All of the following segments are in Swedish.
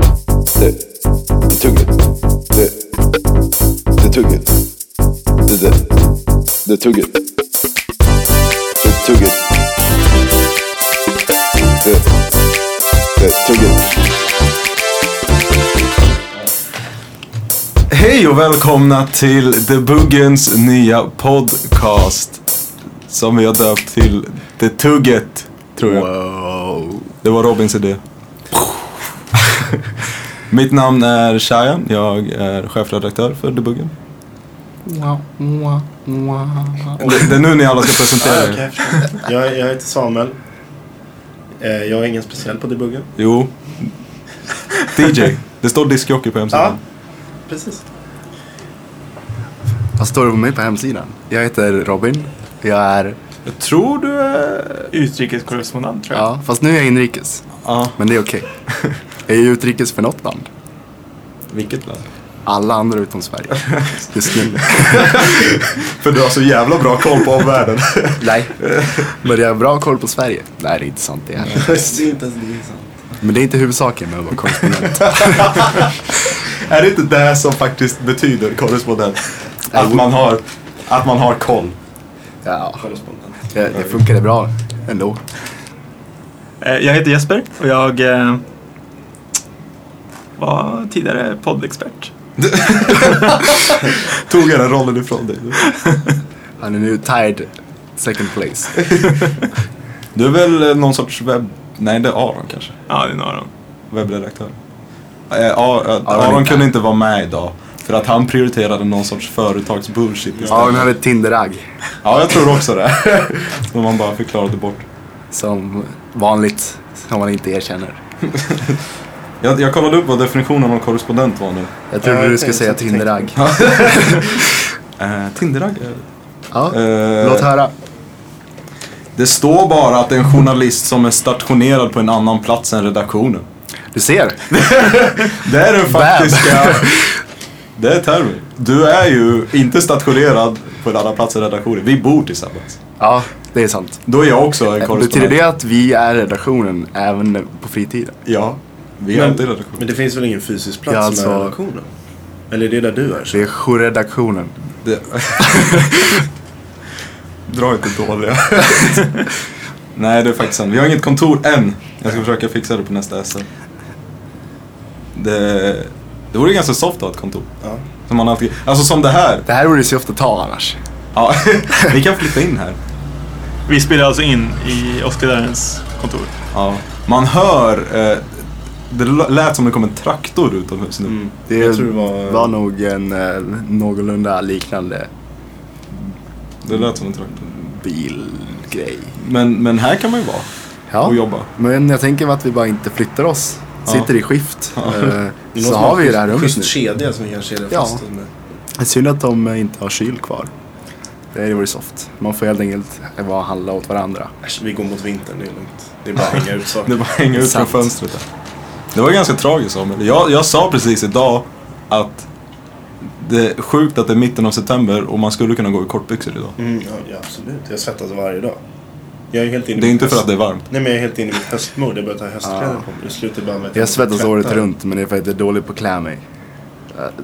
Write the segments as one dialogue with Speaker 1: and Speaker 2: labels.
Speaker 1: Det, det är tugget. Det, det är tugget. Det, det, det är tugget. Det är tugget. Det, det är tugget.
Speaker 2: Hej och välkomna till The Buggens nya podcast. Som vi har döpt till The Tugget, tror jag. Det var Robins idé. Mitt namn är Shayan, jag är chefredaktör för The Buggen. Det, det är nu ni alla ska
Speaker 3: Ah,
Speaker 2: presentera er.
Speaker 4: Jag, jag heter Samuel. Eh, Jag är ingen speciell på debuggen.
Speaker 2: Jo. DJ. Det står diskjockey på hemsidan.
Speaker 4: Ja, precis.
Speaker 5: Vad står det på mig på hemsidan? Jag heter Robin. Jag är...
Speaker 2: Jag tror du är...
Speaker 3: Utrikeskorrespondent tror jag.
Speaker 5: Ja, fast nu är jag inrikes.
Speaker 2: Ja.
Speaker 5: Men det är okej. Jag är utrikes för något land.
Speaker 2: Vilket land?
Speaker 5: Alla andra utom Sverige. Just nu.
Speaker 2: För du har så jävla bra koll på omvärlden.
Speaker 5: Nej. Men jag har bra koll på Sverige. Nej, det är inte sant det heller.
Speaker 4: Det är inte ens det.
Speaker 5: Men det är inte huvudsaken med att vara korrespondent.
Speaker 2: Är det inte det som faktiskt betyder korrespondent? Att man har, att man har koll.
Speaker 5: Ja,
Speaker 4: Korrespondent.
Speaker 5: det, det funkade bra ändå.
Speaker 3: Eh, Jag heter Jesper och jag eh, var tidigare poddexpert.
Speaker 2: Tog jag den rollen ifrån dig?
Speaker 5: Han är nu tied second place.
Speaker 2: Du är väl eh, någon sorts webb... Nej, det är Aron kanske.
Speaker 3: Ja, det är några av dem.
Speaker 2: Webbredaktör. Eh, Ar- eh,
Speaker 5: Aron
Speaker 2: Aron
Speaker 5: inte.
Speaker 2: kunde inte vara med idag. För att han prioriterade någon sorts företagsbullshit istället.
Speaker 5: Ja, han hade ett Tinder-agg.
Speaker 2: Ja, jag tror också det. Som man bara förklarade bort.
Speaker 5: Som vanligt, som man inte erkänner.
Speaker 2: Jag, jag kollade upp vad definitionen av korrespondent var nu.
Speaker 5: Jag trodde
Speaker 4: Ja,
Speaker 5: du
Speaker 4: jag
Speaker 5: skulle
Speaker 4: tänkte-
Speaker 5: säga
Speaker 4: jag tänkte-
Speaker 5: Tinder-agg.
Speaker 2: Eh, Tinderagg?
Speaker 5: Ja,
Speaker 2: Eh,
Speaker 5: låt höra.
Speaker 2: Det står bara att det är en journalist som är stationerad på en annan plats än redaktionen.
Speaker 5: Du ser.
Speaker 2: Det är den
Speaker 5: Bam.
Speaker 2: faktiska... Det är termen. Du är ju inte stationerad på en annan plats än redaktionen. Vi bor tillsammans.
Speaker 5: Ja, det är sant.
Speaker 2: Då är jag också en
Speaker 5: Betyder
Speaker 2: korrespondent.
Speaker 5: det att vi är redaktionen även på fritiden?
Speaker 2: Ja. Vi är
Speaker 4: Men-
Speaker 2: alltid redaktion.
Speaker 4: Men det finns väl ingen fysisk plats
Speaker 5: Ja,
Speaker 4: ja,
Speaker 5: alltså-
Speaker 4: med redaktionen? Eller det är där du är? Så.
Speaker 5: Det är jourredaktionen.
Speaker 2: Det... Dra inte dåliga. Nej, det är faktiskt sant. Vi har inget kontor än. Jag ska försöka fixa det på nästa SM. Det, det vore ganska soft att ha ett kontor.
Speaker 4: Ja.
Speaker 2: Som man alltid... Alltså som det här.
Speaker 5: Det här borde ju så ofta ta annars.
Speaker 2: Ja, vi kan flytta in här.
Speaker 3: Vi spelar alltså in i Oscar Därens kontor.
Speaker 2: Ja. Man hör... Eh, det lät som det kom en traktor utomhus nu.
Speaker 5: Det
Speaker 4: Jag tror det var-
Speaker 5: var nog en eh, någorlunda liknande
Speaker 2: Det lät som en traktor.
Speaker 5: bilgrej.
Speaker 2: Men, men här kan man ju vara
Speaker 5: Ja.
Speaker 2: och jobba.
Speaker 5: Men jag tänker att vi bara inte flyttar oss.
Speaker 2: Ja.
Speaker 5: Sitter i skift.
Speaker 2: Ja.
Speaker 5: eh,
Speaker 4: Det är någon
Speaker 5: Så
Speaker 4: som
Speaker 5: har vi ju det här
Speaker 4: en
Speaker 5: rummet nu.
Speaker 4: Schysst kedja som vi kan kedja
Speaker 5: Ja.
Speaker 4: fast med.
Speaker 5: Synd att de eh, inte har kyl kvar. Det hade varit soft. Man får helt enkelt vara och handla åt varandra.
Speaker 4: Äsch, vi går mot vintern, det är lugnt. Det är bara att hänga ut
Speaker 2: Det
Speaker 4: saker.
Speaker 2: bara hänger ut från
Speaker 5: Sant.
Speaker 2: fönstret. Där. Det var ganska tragiskt Samuel. Jag, jag sa precis idag att det är sjukt att det är mitten av september och man skulle kunna gå i kortbyxor idag.
Speaker 4: Mm, ja, ja, absolut. Jag svettas varje dag. Jag är helt inne i
Speaker 2: Det är
Speaker 4: mitt
Speaker 2: inte för
Speaker 4: höst-
Speaker 2: att det är varmt.
Speaker 4: Nej, men jag är helt inne i mitt höstmode. Jag börjar ta höstkläder på mig. Det slutar bara med att
Speaker 5: Jag svettas året
Speaker 4: tvättar.
Speaker 5: runt men det är för att jag är dålig på att klä mig.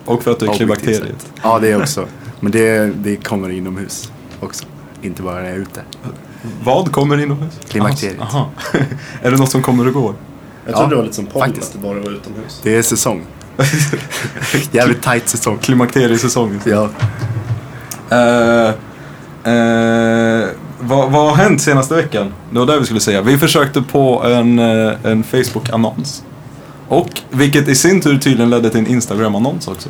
Speaker 2: Och för att det är
Speaker 5: Objektivt
Speaker 2: klibakterier.
Speaker 5: sett. Ja, det också. Men det, det kommer inomhus också. Inte bara när jag är ute.
Speaker 2: Vad kommer inomhus?
Speaker 5: Klimakteriet.
Speaker 2: Aha. är det något som kommer och går?
Speaker 4: Jag trodde
Speaker 5: Ja,
Speaker 4: det var lite som pollen,
Speaker 5: faktiskt.
Speaker 4: att det bara var utomhus.
Speaker 5: Det är säsong. Jävligt tight säsong.
Speaker 2: Klimakteriesäsongen.
Speaker 5: Ja.
Speaker 2: Eh, eh, vad, vad har hänt senaste veckan? Det var det vi skulle säga. Vi försökte på en, eh, en Facebook-annons. Och vilket i sin tur tydligen ledde till en Instagram-annons också.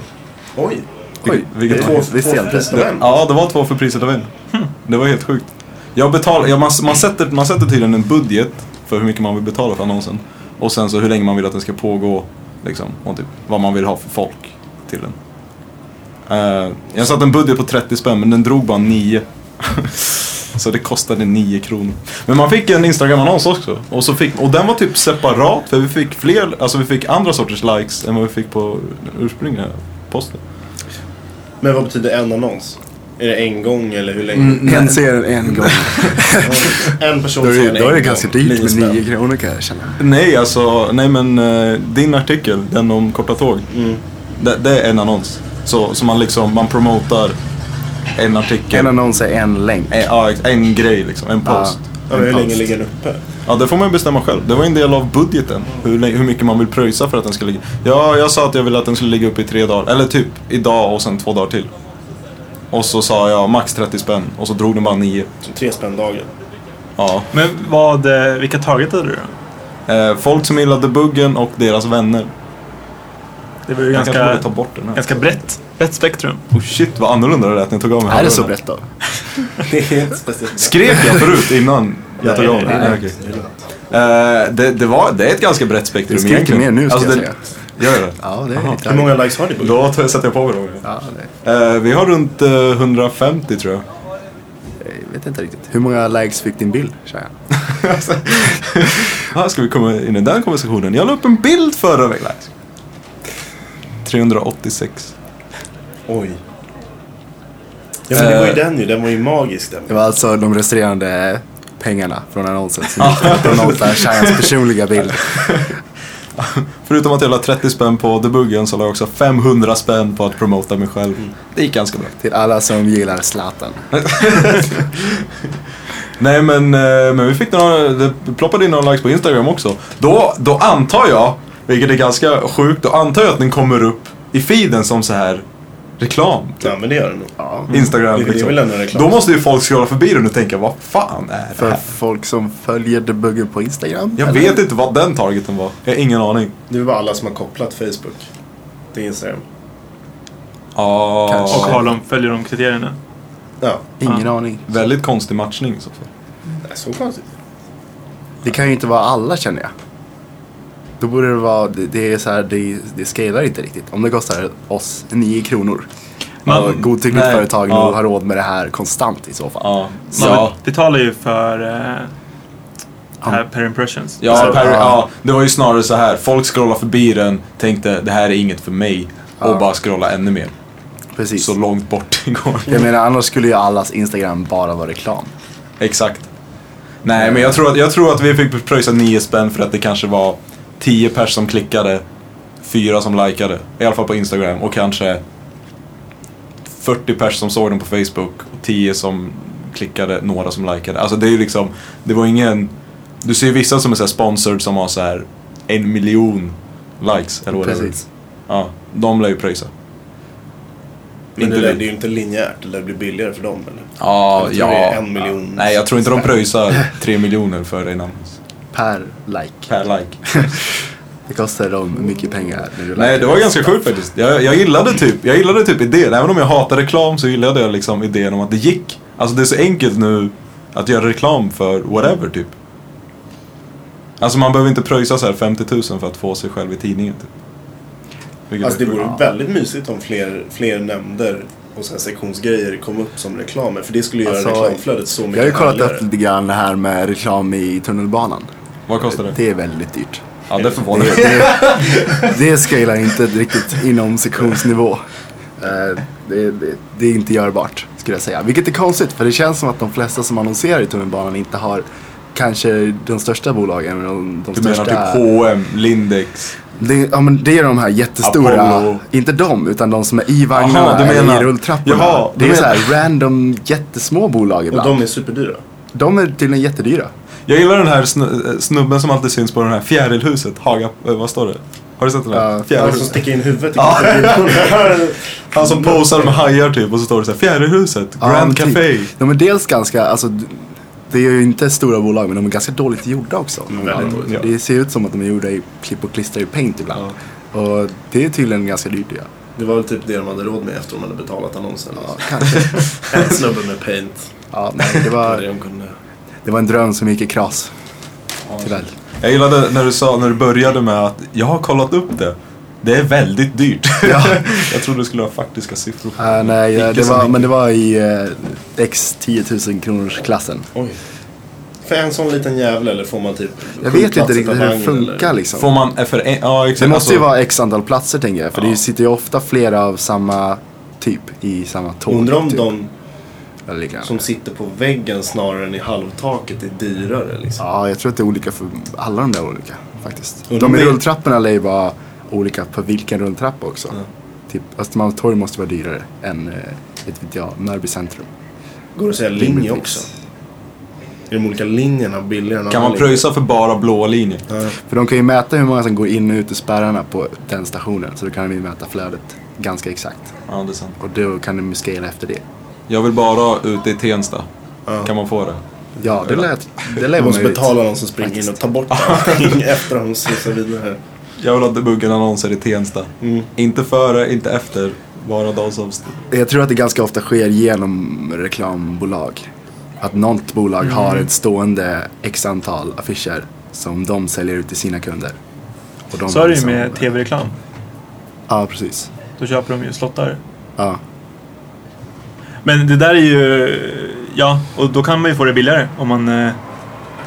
Speaker 4: Oj!
Speaker 5: Oj,
Speaker 2: Vilket-
Speaker 5: det
Speaker 4: Två-
Speaker 5: visste jag
Speaker 4: två
Speaker 5: inte.
Speaker 4: förresten.
Speaker 2: Det, ja, det var två för priset av en. Hm. Det var helt sjukt. Jag betal, ja, man, man, sätter, man sätter tydligen en budget för hur mycket man vill betala för annonsen. Och sen så hur länge man vill att den ska pågå. Liksom, och typ vad man vill ha för folk till den. Eh, jag satte en budget på 30 spänn men den drog bara 9. så det kostade 9 kronor. Men man fick en Instagram-annons också. Och, så fick, och den var typ separat för vi fick fler, alltså vi fick andra sorters likes än vad vi fick på den ursprungliga posten.
Speaker 4: Men vad betyder en annons? Är det en gång eller hur länge?
Speaker 5: En ser en gång.
Speaker 4: En person
Speaker 5: Mm. Då är,
Speaker 4: ser
Speaker 5: det-
Speaker 4: en
Speaker 5: då är det
Speaker 4: gång.
Speaker 5: ganska dyrt
Speaker 4: Nio
Speaker 5: med
Speaker 4: spänn.
Speaker 5: 9 kronor kan jag känna.
Speaker 2: Nej, alltså, nej men eh, din artikel, den om korta tåg.
Speaker 5: Mm.
Speaker 2: Det, det är en annons. Så, så man liksom, man promotar en artikel.
Speaker 5: En annons är en länk.
Speaker 2: en, ja, ex- en grej liksom, en post.
Speaker 4: Ja, men hur
Speaker 5: En
Speaker 4: länge
Speaker 5: post.
Speaker 4: ligger den uppe?
Speaker 2: Ja, det får man ju bestämma själv. Det var en del av budgeten. Hur, länge- hur mycket man vill pröjsa för att den ska ligga. Ja, jag sa att jag ville att den skulle ligga uppe i tre dagar. Eller typ idag och sen två dagar till. Och så sa jag max 30 spänn och så drog den bara 9.
Speaker 4: Så Tre spänn dagen.
Speaker 2: Ja.
Speaker 3: Men vad, eh, vilka target hade du då?
Speaker 2: Eh, folk som gillade buggen och deras vänner.
Speaker 3: Det var ju
Speaker 2: Jag kanske borde
Speaker 3: ganska,
Speaker 2: ta bort den här.
Speaker 3: ganska brett, brett spektrum.
Speaker 2: Oh shit vad annorlunda det lät när jag tog av mig
Speaker 5: Är det så
Speaker 2: hörlurarna.
Speaker 5: brett då?
Speaker 4: Det är inte speciellt
Speaker 2: Skrek jag förut innan jag tog av mig?
Speaker 4: Nej,
Speaker 2: Nej, okej. Eh, det, det, var, det är ett ganska brett spektrum Alltså,
Speaker 5: Det skriker mer nu, ska jag
Speaker 2: det, Gör det?
Speaker 5: Ja, det är
Speaker 4: Hur många likes har du på Google?
Speaker 2: Då tar- sätter jag på mig dem.
Speaker 5: Ja, det,
Speaker 2: Eh, vi har runt eh, 150 tror jag.
Speaker 5: jag vet inte riktigt. Hur många likes fick din bild? Tja.
Speaker 2: Här Alltså, ska vi komma in i den konversationen. Jag la upp en bild förra veckan. 386.
Speaker 4: Oj. Ja, men det
Speaker 2: Eh.
Speaker 4: var ju den ju. Den var ju magisk den.
Speaker 5: Det var alltså de resterande pengarna från annonsen som gick till att annonsa Shayans personliga bild.
Speaker 2: Förutom att jag la 30 spänn på debuggen så la jag också 500 spänn på att promota mig själv.
Speaker 4: Mm.
Speaker 2: Det gick ganska bra.
Speaker 5: Till alla som gillar Zlatan.
Speaker 2: Nej men, eh, men vi fick några, det ploppade in några likes på Instagram också. Då, då antar jag, vilket är ganska sjukt, då antar jag att den kommer upp i feeden som så här reklam.
Speaker 4: Ja, men det gör den nog.
Speaker 5: Ja.
Speaker 2: Instagram liksom.
Speaker 4: Vilket Mm. är väl ändå reklam.
Speaker 2: Då måste ju folk scrolla förbi den och tänka, vad fan är det
Speaker 5: För
Speaker 2: här?
Speaker 5: folk som följer The Buggen på Instagram.
Speaker 2: Jag
Speaker 5: eller?
Speaker 2: vet inte vad den targeten var. Jag har ingen aning.
Speaker 4: Det var alla som har kopplat Facebook till Instagram.
Speaker 2: Ja,
Speaker 5: Kanske.
Speaker 3: Och har de, följer de kriterierna?
Speaker 4: Ja,
Speaker 5: Ingen aning.
Speaker 2: Väldigt konstig matchning i så fall.
Speaker 4: nej, så konstigt.
Speaker 5: Det kan ju inte vara alla känner jag. Då borde det vara, det, det är så här, det, det scalar inte riktigt. Om det kostar oss 9 kronor.
Speaker 3: Man-
Speaker 5: Man, godtyckligt
Speaker 2: nej,
Speaker 5: företag
Speaker 2: ja.
Speaker 5: nog har råd med det här konstant i så fall.
Speaker 2: Ja.
Speaker 3: Man
Speaker 2: ja.
Speaker 3: betalar ju för eh, här per impressions.
Speaker 2: Ja,
Speaker 5: Så-
Speaker 2: per,
Speaker 5: ja.
Speaker 2: ja, det var ju snarare så här. Folk scrollade förbi den, tänkte det här är inget för mig. Och
Speaker 5: Ja.
Speaker 2: bara scrolla ännu mer.
Speaker 5: Precis.
Speaker 2: Så långt bort det går.
Speaker 5: Jag menar annars skulle ju allas Instagram bara vara reklam.
Speaker 2: Exakt. Nej, men jag tror, att, jag tror att vi fick pröjsa 9 spänn för att det kanske var 10 pers som klickade, 4 som likade. I alla fall på Instagram. Och kanske 40 pers som såg den på Facebook och 10 som klickade, några som likade. Alltså det är ju liksom, det var ingen... Du ser ju vissa som är så här sponsored som har så här en miljon likes eller whatever.
Speaker 5: Precis.
Speaker 2: Ja, de lär ju pröjsa.
Speaker 4: Men
Speaker 2: Inte
Speaker 4: det, där,
Speaker 2: vi.
Speaker 4: det är ju inte linjärt. Det där blir billigare för dem eller?
Speaker 2: Ja,
Speaker 4: Jag tror
Speaker 2: ja.
Speaker 4: det är en miljon.
Speaker 2: Nej, jag tror inte de pröjsar 3 miljoner för en annons.
Speaker 5: Per like.
Speaker 2: Per like.
Speaker 5: Det kostar dem mycket pengar. När du
Speaker 2: Nej, det
Speaker 5: likar.
Speaker 2: var ganska sjukt faktiskt. Jag, jag, gillade typ, jag gillade typ idén. Även om jag hatar reklam så gillade jag liksom idén om att det gick. Alltså det är så enkelt nu att göra reklam för whatever typ. Alltså man behöver inte pröjsa så här 50 000 för att få sig själv i tidningen typ. Vilket
Speaker 4: Alltså det
Speaker 2: är sjukt.
Speaker 4: vore väldigt mysigt om fler, fler nämnder och så här sektionsgrejer kom upp som reklamer. För det skulle göra
Speaker 5: Alltså,
Speaker 4: reklamflödet så mycket
Speaker 5: Jag har ju kollat
Speaker 4: härligare.
Speaker 5: upp lite grann det här med reklam i tunnelbanan.
Speaker 2: Vad kostar det?
Speaker 5: Det är väldigt dyrt.
Speaker 2: Ja, det förvånar
Speaker 5: Det,
Speaker 2: mig.
Speaker 5: det, det scalar inte riktigt inom sektionsnivå. Eh, Det, det, det är inte görbart skulle jag säga. Vilket är konstigt för det känns som att de flesta som annonserar i tunnelbanan inte har kanske de största bolagen. men De, de
Speaker 2: Du menar
Speaker 5: största...
Speaker 2: typ H&M, Lindex?
Speaker 5: Det, ja, men det är de här jättestora,
Speaker 2: Apollo.
Speaker 5: inte de, utan de som är i vagnarna,
Speaker 2: Jaha, du menar-
Speaker 5: i rulltrapporna.
Speaker 2: Jaha, du
Speaker 5: det är så
Speaker 2: menar-
Speaker 5: här random jättesmå bolag
Speaker 4: Och
Speaker 5: ibland.
Speaker 4: de
Speaker 5: De...
Speaker 4: är superdyra.
Speaker 5: de är tydligen jättedyra.
Speaker 2: Jag gillar den här snu- eh, snubben som alltid syns på den här fjärilhuset. Haga, eh, vad står det? Har du sett den där?
Speaker 5: Ja,
Speaker 4: Han som
Speaker 2: fjärilhuset.
Speaker 4: sticker in huvudet i kaffebryggorna.
Speaker 2: Han som posar med hajar typ och så står det så här fjärilhuset,
Speaker 5: Ja, men
Speaker 2: Grand
Speaker 5: typ.
Speaker 2: Café.
Speaker 5: De är dels ganska, alltså, d- det är ju inte stora bolag men de är ganska dåligt gjorda också.
Speaker 4: väldigt
Speaker 2: dåligt, Mm, ja.
Speaker 5: Det ser ut som att de är gjorda i klipp och klister i paint ibland. Och det är tydligen ganska dyrt att göra.
Speaker 4: Det var väl typ det de hade råd med efter de hade betalat annonsen.
Speaker 5: Ja, kanske.
Speaker 4: En snubbe med paint.
Speaker 5: ja, nej, det,
Speaker 4: Det var det
Speaker 5: var,
Speaker 4: de kunde.
Speaker 5: det var en dröm som gick i kras. Tyvärr.
Speaker 2: Jag gillade när du sa, när du började med att jag har kollat upp det. Det är väldigt dyrt.
Speaker 5: Ja.
Speaker 2: jag trodde du skulle ha faktiska siffror.
Speaker 5: Äh, nej,
Speaker 2: Icke
Speaker 5: det
Speaker 2: så
Speaker 5: var,
Speaker 2: mycket.
Speaker 5: men det var i eh, x 10 000 kronors klassen.
Speaker 4: Oj. För en sån liten jävel eller får man typ
Speaker 5: Jag
Speaker 4: sju
Speaker 5: vet inte
Speaker 4: platser
Speaker 5: riktigt
Speaker 4: per
Speaker 5: hur det
Speaker 4: vagn,
Speaker 5: funkar
Speaker 4: eller?
Speaker 5: liksom.
Speaker 2: Får man, eh, för en, ja exakt.
Speaker 5: Det måste ju
Speaker 2: alltså,
Speaker 5: vara x antal platser tänker jag. För det sitter ju ofta flera av samma typ i samma tåg.
Speaker 4: Undrar om
Speaker 5: typ.
Speaker 4: de
Speaker 5: Eller lika gärna.
Speaker 4: Som sitter på väggen snarare än i halvtaket är dyrare. Liksom.
Speaker 5: Ja, jag tror att det är olika för alla de där olika faktiskt.
Speaker 4: Undrar
Speaker 5: De i
Speaker 4: om det-
Speaker 5: rulltrapporna lär ju vara olika på vilken rulltrappa också. Typ Östermalmstorg måste vara dyrare än, eh, vet inte jag, Mörby centrum.
Speaker 4: Går det att säga linje
Speaker 5: Rimligtvis.
Speaker 4: också? Är de olika linjerna billigare än
Speaker 2: Kan man
Speaker 4: andra linjer?
Speaker 2: pröjsa för bara blåa linjer?
Speaker 5: För de kan ju mäta hur många som går in och ut ur spärrarna på den stationen. Så då kan de ju mäta flödet ganska exakt.
Speaker 2: Ja, det är sant.
Speaker 5: Och då kan de ju scala efter det.
Speaker 2: Jag vill bara ut i Tensta. Kan man få det?
Speaker 5: Ja, det lät, det lät
Speaker 4: Jag måste
Speaker 5: möjligt.
Speaker 4: betala någon som springer in
Speaker 5: Faktiskt.
Speaker 4: och tar bort allting efter att de slussar vidare.
Speaker 2: Jag vill ha debuggen annonser i Tensta. Inte före, inte efter. Bara de som... st-
Speaker 5: Jag tror att det ganska ofta sker genom reklambolag. Att något bolag
Speaker 3: Mm.
Speaker 5: har ett stående x antal affischer som de säljer ut till sina kunder. Och de
Speaker 3: Så är det ju
Speaker 5: liksom-
Speaker 3: med tv-reklam.
Speaker 5: Ja, precis.
Speaker 3: Då köper de ju slottar.
Speaker 5: Ja.
Speaker 3: Men det där är ju... Ja, och då kan man ju få det billigare om man eh,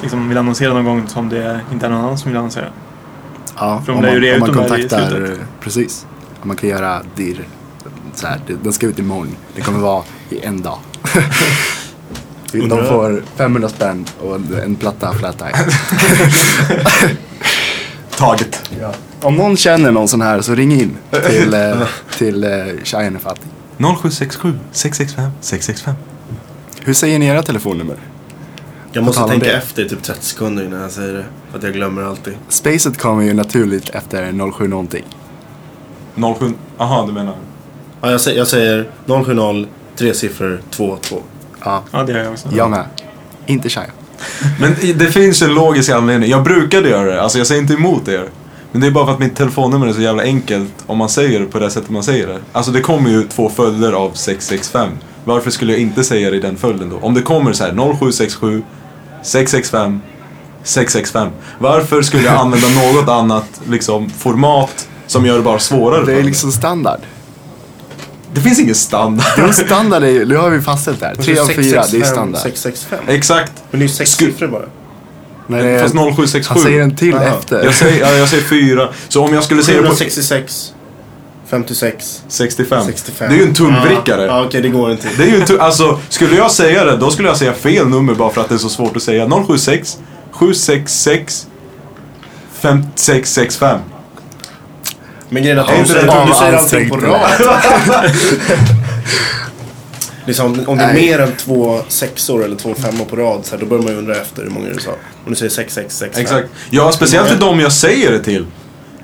Speaker 3: liksom vill annonsera någon gång som det inte är någon annan som vill annonsera.
Speaker 5: ja.
Speaker 3: För de lär ju rea ut de där i slutet.
Speaker 5: Precis. Om man kan göra dirr. Så här, det- den ska ut imorgon. Det kommer vara i en dag. de
Speaker 4: Undrar-
Speaker 5: får 500 spänn och en platta flat iron.
Speaker 2: Taget.
Speaker 5: Om någon känner någon sån här så ring in till, eh, till eh, Cheyenne Fatih.
Speaker 2: 0767 665 665.
Speaker 5: Hur säger ni era telefonnummer?
Speaker 4: Jag måste
Speaker 5: tal om
Speaker 4: tänka
Speaker 5: det.
Speaker 4: efter i typ 30 sekunder innan jag säger det. För att jag glömmer alltid.
Speaker 5: Spacet kommer ju naturligt efter 07 någonting.
Speaker 2: 07... Aha, du menar...
Speaker 4: Ja, jag, säger, jag säger 070 tre siffror 22.
Speaker 5: Ja,
Speaker 3: Ja, det gör jag också.
Speaker 5: jag med. Inte Cheyenne.
Speaker 2: Men i- det finns en logisk anledning. Jag brukade göra det, alltså jag säger inte emot er. Men det är bara för att mitt telefonnummer är så jävla enkelt om man säger det på det sättet man säger det. Alltså det kommer ju två följder av 665. Varför skulle jag inte säga det i den följden då? Om det kommer så här 0767 665 665. Varför skulle jag använda något annat liksom, format som gör det bara svårare?
Speaker 5: Det
Speaker 2: för
Speaker 5: är
Speaker 2: mig?
Speaker 5: liksom standard.
Speaker 2: det finns ingen standard.
Speaker 5: Men standard är ju, nu har vi fastställt det här. 3 av 4, det är standard.
Speaker 4: 665.
Speaker 2: Exakt.
Speaker 4: Men det är ju sex
Speaker 2: Sku-
Speaker 4: siffror bara.
Speaker 5: Nej, det är-
Speaker 2: Fast 0767.
Speaker 5: Eh, han säger en till
Speaker 4: Ja.
Speaker 5: efter.
Speaker 2: Jag säger, ja, jag säger fyra. Så om jag skulle säga det på
Speaker 4: 766, 56,
Speaker 2: 65.
Speaker 4: 65.
Speaker 2: Det är ju en tumvrickare.
Speaker 4: Ja, ja okej det går inte.
Speaker 2: Det är ju inte, alltså, skulle jag säga det, då skulle jag säga fel nummer bara för att det är så svårt att säga. 076 766 5665.
Speaker 4: Men grejen är
Speaker 5: Ja,
Speaker 4: att du
Speaker 5: inte
Speaker 4: säger,
Speaker 5: bara
Speaker 4: du säger
Speaker 5: ansträngt
Speaker 4: allting på
Speaker 5: bra.
Speaker 4: rad. Liksom, om det är
Speaker 5: Nej.
Speaker 4: mer än två sexor eller två femmor på rad så här, då börjar man ju undra efter hur många du sa. Om du säger 666.
Speaker 2: Exakt. Ja, speciellt till dem jag säger det till.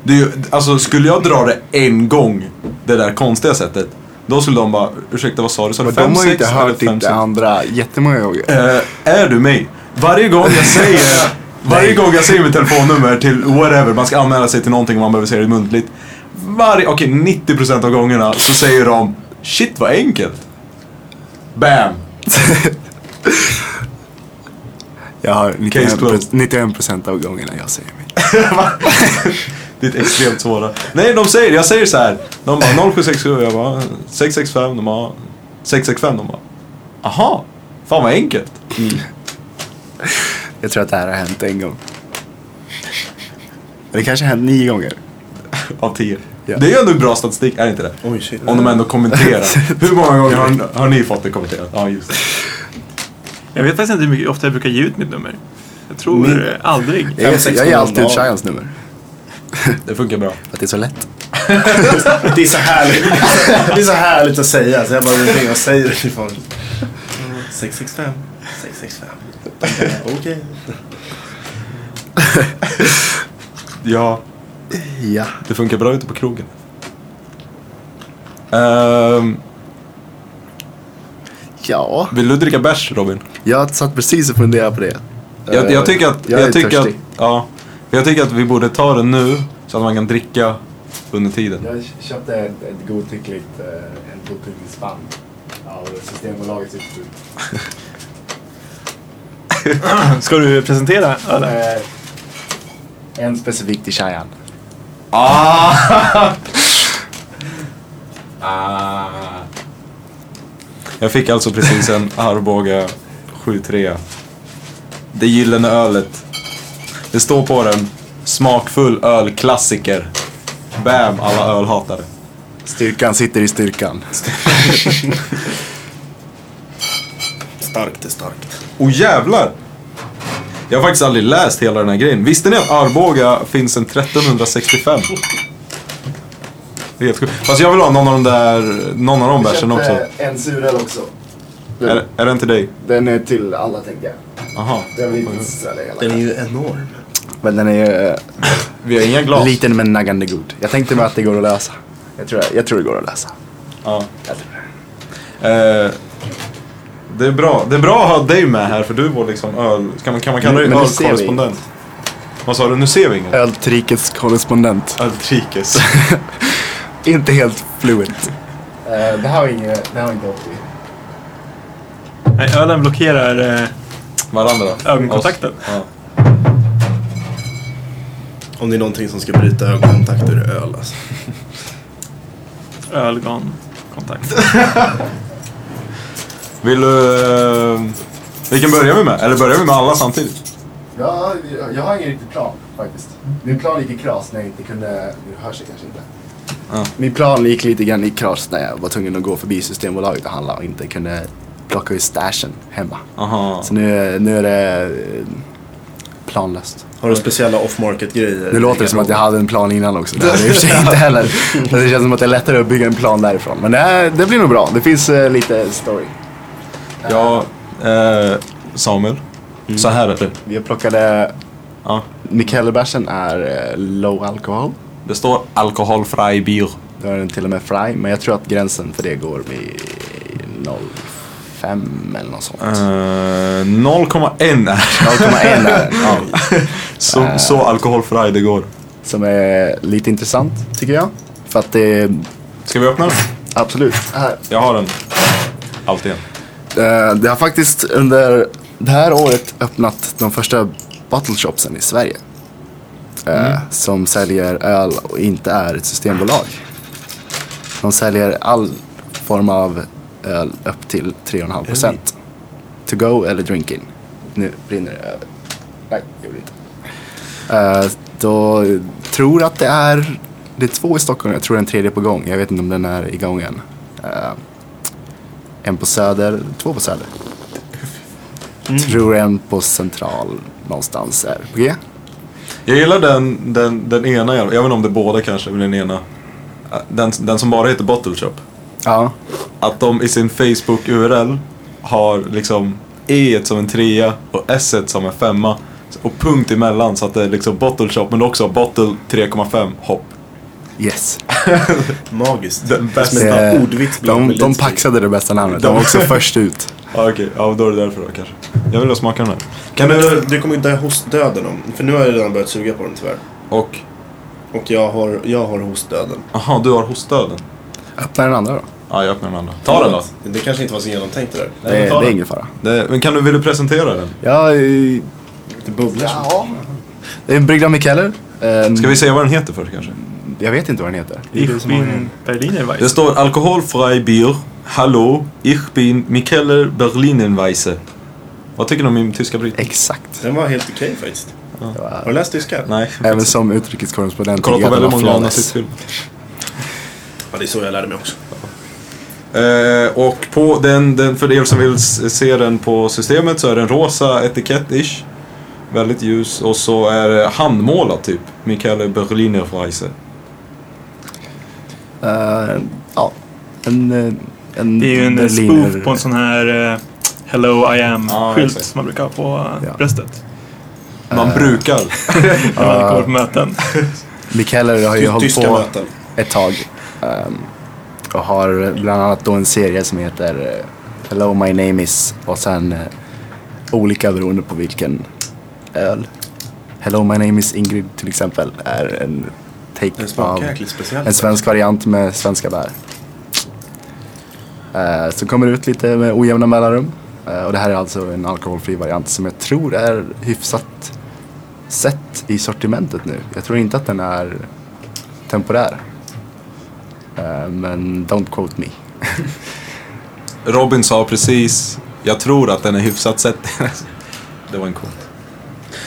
Speaker 2: Det är ju, alltså, skulle jag dra det en gång, det där konstiga sättet, då skulle de bara, ursäkta vad sa du? Sa du
Speaker 5: Men de har ju
Speaker 2: 56
Speaker 5: inte
Speaker 2: eller
Speaker 5: hört ditt
Speaker 2: 56?
Speaker 5: andra jättemånga gånger.
Speaker 2: Eh, är du mig? Varje gång jag säger Varje gång jag säger mitt telefonnummer till whatever, man ska anmäla sig till någonting och man behöver säga det muntligt. Varje, okej 90% av gångerna så säger de shit vad enkelt. Bam!
Speaker 5: Jag har
Speaker 2: Case closed.
Speaker 5: 91 procent av gångerna jag säger mitt.
Speaker 2: Det är extremt svåra. Nej de säger, jag säger så här. De bara 0767, jag bara 665, de bara 665, de bara aha, fan vad enkelt.
Speaker 5: Jag tror att det här har hänt en gång. Det kanske har hänt nio gånger.
Speaker 2: Av 10.
Speaker 5: Ja.
Speaker 2: Det är ju ändå bra statistik, är det inte det?
Speaker 4: Oj, shit.
Speaker 2: Om de ändå kommenterar. Hur många gånger har, har ni fått det kommenterat? Ja, just det.
Speaker 3: Jag vet faktiskt inte hur mycket, ofta jag brukar ge ut mitt nummer. Jag tror
Speaker 4: Min-
Speaker 3: aldrig.
Speaker 5: Jag,
Speaker 4: Fem, sex
Speaker 5: jag ger
Speaker 4: gånger
Speaker 5: alltid
Speaker 4: om
Speaker 5: ut
Speaker 4: dagen.
Speaker 5: Cheyennes nummer.
Speaker 2: Det funkar bra.
Speaker 5: För att det är så lätt.
Speaker 4: Det är så härligt. Det är så härligt att säga. Så jag bara går omkring och säger det till folk. Mm. 665, 665. Okej.
Speaker 2: Ja,
Speaker 5: Ja.
Speaker 2: det funkar bra ute på krogen. Ehm,
Speaker 5: Ja.
Speaker 2: vill du dricka bärs Robin?
Speaker 5: Jag satt precis och funderade på det.
Speaker 2: Jag, jag tycker att...
Speaker 5: Eh, Jag är
Speaker 2: tycker att,
Speaker 5: törstig.
Speaker 2: ja, jag tycker att vi borde ta den nu så att man kan dricka under tiden.
Speaker 5: Jag köpte ett, ett godtyckligt, eh, en godtycklig spann av Systembolagets utbud.
Speaker 3: Ska du presentera? Eller?
Speaker 5: Eh, en specifik till Cheyenne.
Speaker 2: Ah. Jag fick alltså precis en Arboga 7-3. Det gyllene ölet. Det står på den. Smakfull ölklassiker. Bam, alla ölhatare.
Speaker 5: Styrkan sitter i styrkan.
Speaker 4: Starkt är starkt.
Speaker 2: Och Oh, jävlar! Jag har faktiskt aldrig läst hela den här grejen. Visste ni att Arboga finns sedan 1365? Det är helt sjukt. Fast jag vill ha någon av de där, någon av de bärsen också.
Speaker 5: En suröl också.
Speaker 2: Är, är den till dig?
Speaker 5: Den är till alla tänker jag.
Speaker 2: Aha.
Speaker 5: Mm. Den vill inte sälja hela.
Speaker 4: Den är ju enorm.
Speaker 5: Men den är ju
Speaker 2: Vi har inga glas.
Speaker 5: liten men naggande god. Jag tänkte mig att det går att lösa. Jag tror, jag tror det går att lösa.
Speaker 2: Ja. Eh, det är bra. Det är bra att ha dig med här för du är vår liksom öl... Kan man, kan man kalla dig
Speaker 5: Men nu ser vi
Speaker 2: ölkorrespondent? Vad sa du? Nu ser vi inget.
Speaker 5: Öltrikets korrespondent.
Speaker 2: Öltrikes.
Speaker 5: Inte helt fluent. Eh, det här var inget, det här var inte opti.
Speaker 3: Nej, ölen blockerar eh,
Speaker 2: Varandra.
Speaker 3: ögonkontakten.
Speaker 2: Oss. Ja.
Speaker 4: Om det är någonting som ska bryta ögonkontakter är det öl alltså.
Speaker 3: Ölgonkontakt.
Speaker 2: Vill du... Eh, vilken börjar vi med? Eller börjar vi med alla samtidigt?
Speaker 5: Ja, jag har ingen riktig plan faktiskt. Min plan gick i kras när jag inte kunde... Nu hörs det kanske inte.
Speaker 2: Ja.
Speaker 5: Min plan gick lite grann i kras när jag var tvungen att gå förbi Systembolaget och handla och inte kunde plocka ur stashen hemma.
Speaker 2: Aha.
Speaker 5: Så nu, nu är det eh, planlöst.
Speaker 4: Har du speciella off market grejer?
Speaker 5: Nu låter det som att jag hade en plan innan också. Det hade jag i och för sig inte heller. Men det känns som att det är lättare att bygga en plan därifrån. Men det, här- det blir nog bra. Det finns eh, lite story.
Speaker 2: Ja, eh, Samuel.
Speaker 5: Mm.
Speaker 2: Så här är det.
Speaker 5: Jag plockade...
Speaker 2: Ja.
Speaker 5: Mikelbärsen eh, är eh, low alcohol.
Speaker 2: Det står alkoholfri bier.
Speaker 5: Då är den till och med fry, men jag tror att gränsen för det går vid 05 eller något sånt.
Speaker 2: Eh, 0,1 är
Speaker 5: 0,1 är den, ja, Eh.
Speaker 2: så, så alkoholfri det går.
Speaker 5: Som är lite intressant tycker jag. För att det,
Speaker 2: Ska vi öppna den?
Speaker 5: absolut. Här.
Speaker 2: Jag har den. Allt igen.
Speaker 5: Eh, Det har faktiskt under det här året öppnat de första battleshopsen i Sverige. Eh, Som säljer öl och inte är ett systembolag. De säljer all form av öl upp till 3,5%. To go eller drink in. Nu brinner det över. Nej, det gjorde det inte. Eh, Då tror att det är, det är två i Stockholm, jag tror den tredje är på gång. Jag vet inte om den är igång än. Eh, en på Söder, två på Söder. Tror en på Central någonstans är på G.
Speaker 2: Jag gillar den, den, den ena, jag jag vet inte om det är båda kanske, men den ena. Eh, Den, den som bara heter Bottle Shop.
Speaker 5: Ja.
Speaker 2: Att de i sin Facebook-URL har liksom E som en trea och S som en femma. Och punkt emellan så att det är liksom Bottle Shop men också Bottle 3,5 hopp.
Speaker 5: Yes.
Speaker 4: Magiskt.
Speaker 2: Den
Speaker 4: Det är som
Speaker 2: bästa.
Speaker 4: ett
Speaker 5: Eh,
Speaker 4: ordvitsblad
Speaker 5: De,
Speaker 4: med
Speaker 5: de
Speaker 4: lite-
Speaker 5: paxade det bästa namnet. De var också först ut.
Speaker 2: Ja, okej, ja, då är det därför då kanske. Jag vill ha smaka den här. Kan
Speaker 4: du,
Speaker 2: du...
Speaker 4: du kommer ju dö hostdöden om. För nu har jag redan börjat suga på den tyvärr.
Speaker 2: Och...
Speaker 4: Och jag har, jag har hostdöden.
Speaker 2: Aha, du har hostdöden.
Speaker 5: Öppna den andra då.
Speaker 2: Ja, jag öppnar den andra. Ta den då.
Speaker 4: Det kanske inte var så genomtänkt det där.
Speaker 5: Det,
Speaker 2: men
Speaker 5: det
Speaker 2: ta
Speaker 5: är
Speaker 2: den.
Speaker 5: ingen fara.
Speaker 2: Det, men kan du, vill du presentera den?
Speaker 5: Ja, eh,
Speaker 4: Det bubblar så.
Speaker 5: det är en bryggd av Mikeller. Ehm,
Speaker 2: Ska vi säga vad den heter först kanske?
Speaker 5: Jag vet inte vad den heter.
Speaker 3: Ich bin Berliner
Speaker 2: Det
Speaker 3: Weiss.
Speaker 2: står alkoholfri bier. Hallå, ich bin Mikeller Berlinenweise. Vad tycker du om min tyska bryt?
Speaker 5: Exakt.
Speaker 4: Den var helt okej faktiskt. Har du läst tyska?
Speaker 2: Nej.
Speaker 5: Även som utrikeskorrespondent.
Speaker 2: Kollar
Speaker 5: tycker
Speaker 2: på
Speaker 5: jag att den
Speaker 2: väldigt
Speaker 5: var
Speaker 2: många
Speaker 5: flawless.
Speaker 2: nazistfilmer.
Speaker 4: Ja, det är så jag lärde mig också.
Speaker 2: Eh, och på den, den, för er som vill s- se den på systemet så är den rosa etikett-ish. Väldigt ljus och så är det handmålad typ. Mikael Berliner Weisse.
Speaker 5: Eh, ja. En, eh, en
Speaker 3: Det är ju en eh,
Speaker 5: Berliner-
Speaker 3: spoof på en sån här eh, Hello I
Speaker 2: Ja,
Speaker 3: am-skylt
Speaker 2: exakt.
Speaker 3: som man brukar ha på eh,
Speaker 5: Ja.
Speaker 3: bröstet.
Speaker 2: Man brukar.
Speaker 3: När man går på möten.
Speaker 5: Mikeller har ju hållit
Speaker 4: Tyska
Speaker 5: på
Speaker 4: möten.
Speaker 5: ett tag. ehm, och har bland annat då en serie som heter eh, Hello My Name Is och sen eh, olika beroende på vilken öl. Hello My Name Is Ingrid till exempel är en
Speaker 4: Den
Speaker 5: take av
Speaker 4: smakar jäkligt
Speaker 5: en
Speaker 4: speciellt.
Speaker 5: svensk variant med svenska bär. Eh, så kommer det ut lite med ojämna mellanrum. Eh, och det här är alltså en alkoholfri variant som jag tror är hyfsat sett i sortimentet nu. Jag tror inte att den är temporär. Eh, men don't quote me.
Speaker 2: Robin sa precis, jag tror att den är hyfsat sett. det var en kort.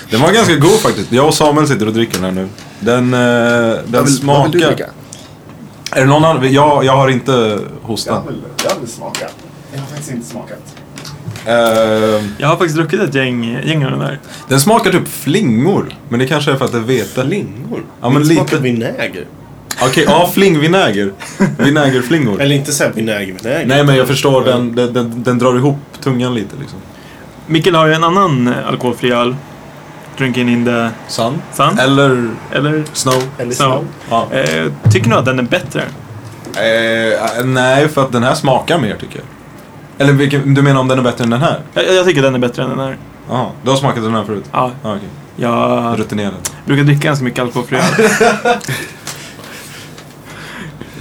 Speaker 2: Den var ganska god faktiskt. Jag och Samuel sitter och dricker den här nu. Den, eh, den smakar... Är det någon annan? Jag, jag har inte hostan.
Speaker 5: vill, jag vill smaka. Jag har faktiskt inte smakat.
Speaker 2: Eh,
Speaker 3: Jag har faktiskt druckit ett gäng, gäng av den där.
Speaker 2: den smakar typ flingor, men det kanske är för att det är vete.
Speaker 4: Flingor?
Speaker 2: Ja, men
Speaker 4: det smakar
Speaker 2: lite.
Speaker 4: vinäger.
Speaker 2: Okej, ja flingvinäger. Vinägerflingor.
Speaker 4: Eller inte såhär vinägervinäger.
Speaker 2: Nej men jag förstår, den, den, den, den drar ihop tungan lite liksom.
Speaker 3: Mikael har ju en annan eh, alkoholfri öl. Drinking in the
Speaker 2: Sun?
Speaker 3: sun.
Speaker 2: Eller
Speaker 3: Eller?
Speaker 2: snow?
Speaker 4: Eller
Speaker 3: Så.
Speaker 4: så.
Speaker 2: Ja.
Speaker 3: Eh, tycker nog att den är bättre.
Speaker 2: Eh, nej, för att den här smakar mer tycker jag. Eller vilken, du menar om den är bättre än den här?
Speaker 3: Jag, jag tycker den är bättre än den här.
Speaker 2: Jaha, du har smakat den här förut?
Speaker 3: Ja,
Speaker 2: Ja, okej.
Speaker 3: jag
Speaker 2: Rutinerad.
Speaker 3: brukar dricka ganska mycket alkoholfri öl.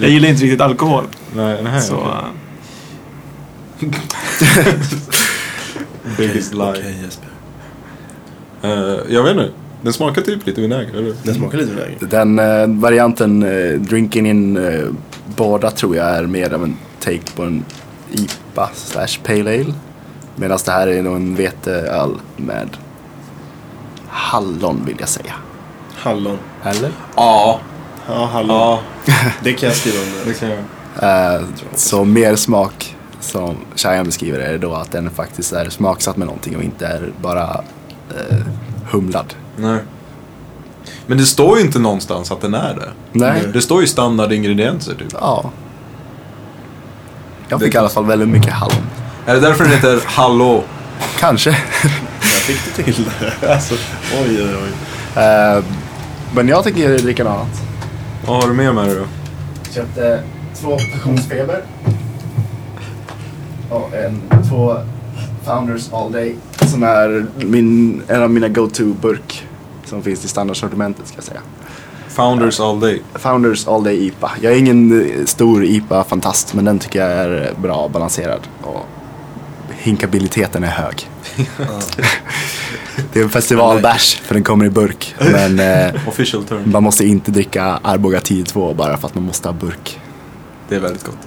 Speaker 3: Jag gillar inte riktigt alkohol.
Speaker 2: Nej, nej.
Speaker 3: Så,
Speaker 2: okej.
Speaker 3: eh, eh,
Speaker 2: Biggest lie.
Speaker 4: Okej Jesper.
Speaker 2: Eh, jag vet inte. Den smakar typ lite vinäger, eller?
Speaker 4: Den smakar lite vinäger.
Speaker 5: Den eh, varianten eh, Drinking in eh, Båda tror jag är mer av en take på en IPA slash Pale Ale. Medan det här är nog en veteöl med hallon vill jag säga.
Speaker 4: Hallon.
Speaker 5: Eller?
Speaker 2: Ja,
Speaker 4: Ja, hallon.
Speaker 2: ja.
Speaker 4: Det kan jag skriva under.
Speaker 2: kan jag.
Speaker 5: Eh, så mer smak som Shayan beskriver är då att den faktiskt är smaksatt med någonting och inte är bara eh, humlad.
Speaker 2: Nej. Men det står ju inte någonstans att den är det.
Speaker 5: Nej.
Speaker 2: Det står ju standardingredienser typ.
Speaker 5: Ja. Jag
Speaker 2: Det
Speaker 5: fick i alla fall väldigt mycket hallon.
Speaker 2: Är det därför den heter Hallå?
Speaker 5: Kanske.
Speaker 4: Jag fick det till det. Alltså, oj, oj, oj.
Speaker 5: Eh, men jag tänker dricka något annat.
Speaker 2: Vad har du med mig då?
Speaker 5: Köpte två passionsfeber. Och en, två Founders All Day. Som är min, en av mina go-to-burk. Som finns i standardsortimentet ska jag säga.
Speaker 2: Founders all day.
Speaker 5: Founders All Day IPA. Jag är ingen eh, stor IPA-fantast men den tycker jag är bra balanserad. Och hinkabiliteten är hög. det är en festivalbärs för den kommer i burk. Men eh,
Speaker 2: Official term.
Speaker 5: man måste inte dricka Arboga 10-2 bara för att man måste ha burk.
Speaker 2: Det är väldigt gott.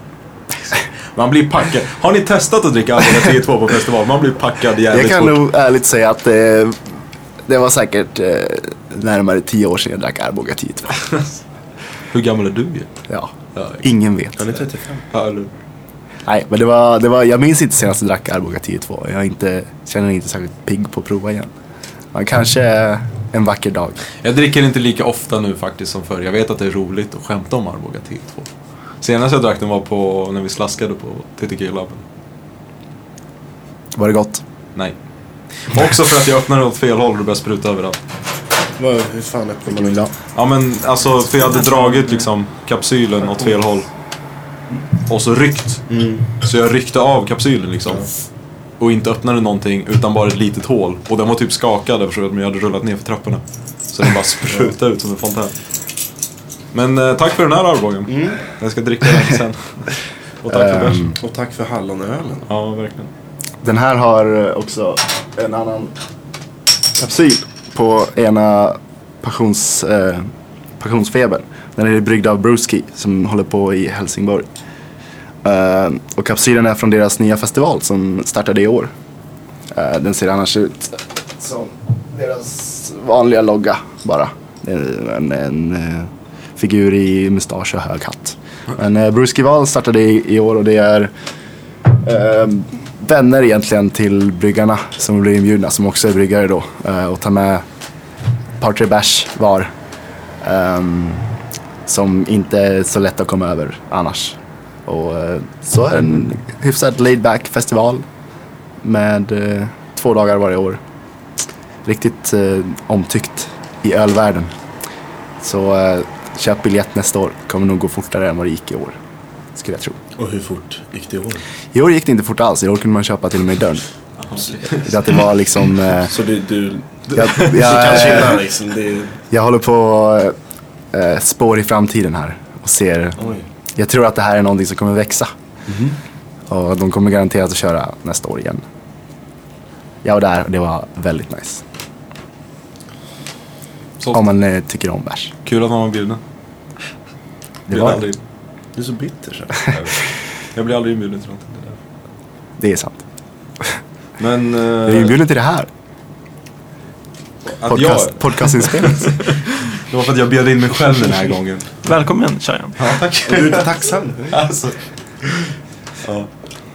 Speaker 2: Man blir packad. Har ni testat att dricka Alkohol 10-2 på festival? Man blir packad jävligt
Speaker 5: Jag kan
Speaker 2: fort.
Speaker 5: nog ärligt säga att eh, det var säkert eh, närmare 10 år sedan jag drack Arboga 10-2.
Speaker 2: Hur gammal är du?
Speaker 5: Ja.
Speaker 2: Ja,
Speaker 5: Ingen vet.
Speaker 4: Han är 35.
Speaker 2: ja, eller-
Speaker 5: Nej, men det var, det var, jag minns inte senast jag drack Arboga 10-2. Jag är inte, känner mig inte särskilt pigg på att prova igen. Men kanske en vacker dag.
Speaker 2: Jag dricker inte lika ofta nu faktiskt som förr. Jag vet att det är roligt att skämta om Arboga 10-2. Senast jag drack den var på när vi slaskade på TTG-labben.
Speaker 5: Var det gott?
Speaker 2: Nej. Också för att jag öppnade åt fel håll och det började spruta överallt.
Speaker 4: Vad, hur fan öppnar man en
Speaker 5: Ja.
Speaker 2: Ja men alltså för jag hade dragit liksom kapsylen åt fel håll. Och så ryckt.
Speaker 4: Mm.
Speaker 2: Så jag ryckte av kapsylen liksom. Och inte öppnade någonting utan bara ett litet hål. Och den var typ skakad eftersom jag hade rullat ner för trapporna. Så den bara sprutade ut som en fontän. Men eh, tack för den här armbågen. Jag ska dricka den sen. Och tack för bärs.
Speaker 4: Och tack för hallonölen.
Speaker 2: Ja, verkligen.
Speaker 5: Den här har eh, också en annan kapsyl på ena passions, eh, passionsfebern. Den är bryggd av Brewski som håller på i Helsingborg. Eh, och kapsylen är från deras nya festival som startade i år. Eh, den ser annars ut som deras vanliga logga bara. Det är En, en eh, figur i mustasch och hög hatt. Men eh, Brewski Val startade i, i år och det är eh, vänner egentligen till bryggarna som blir inbjudna, som också är bryggare då. Eh, och tar med ett par tre bärs var. ehm, som inte är så lätt att komma över annars. Och eh, så är det en hyfsat laid back festival. Med eh, två dagar varje år. Riktigt eh, omtyckt i ölvärlden. Så eh, köp biljett nästa år. Kommer nog gå fortare än vad det gick i år. Skulle jag tro.
Speaker 4: Och hur fort gick det i år?
Speaker 5: I år gick det inte fort alls. I år kunde man köpa till och med i dörren. Så att det var liksom... Eh,
Speaker 4: Så du, du,
Speaker 5: jag,
Speaker 4: du kan
Speaker 5: jag, eh,
Speaker 4: chilla liksom. Det är,
Speaker 5: jag håller på eh, spår i framtiden här och ser...
Speaker 4: oj. Mhm.
Speaker 5: Jag tror att det här är någonting som kommer växa. Och de kommer garanterat att köra nästa år igen. Jag var där och det var väldigt nice.
Speaker 2: Så,
Speaker 5: Om man eh, tycker om bärs.
Speaker 2: Kul att man var bjuden.
Speaker 5: Det,
Speaker 2: Blir
Speaker 5: var,
Speaker 2: aldrig-
Speaker 4: Du är så bitter så.
Speaker 2: Jag blir aldrig inbjuden till någonting. det där.
Speaker 5: det är sant.
Speaker 2: Men... eh,
Speaker 5: Jag är inbjuden till det här.
Speaker 2: att jag,
Speaker 5: Podcast, podcastinspelning.
Speaker 2: det var för att jag bjöd in mig själv den här gången.
Speaker 3: välkommen Shayan.
Speaker 2: Ja, tack.
Speaker 4: Du är inte tacksam.
Speaker 2: Alltså. Ja. Alltså.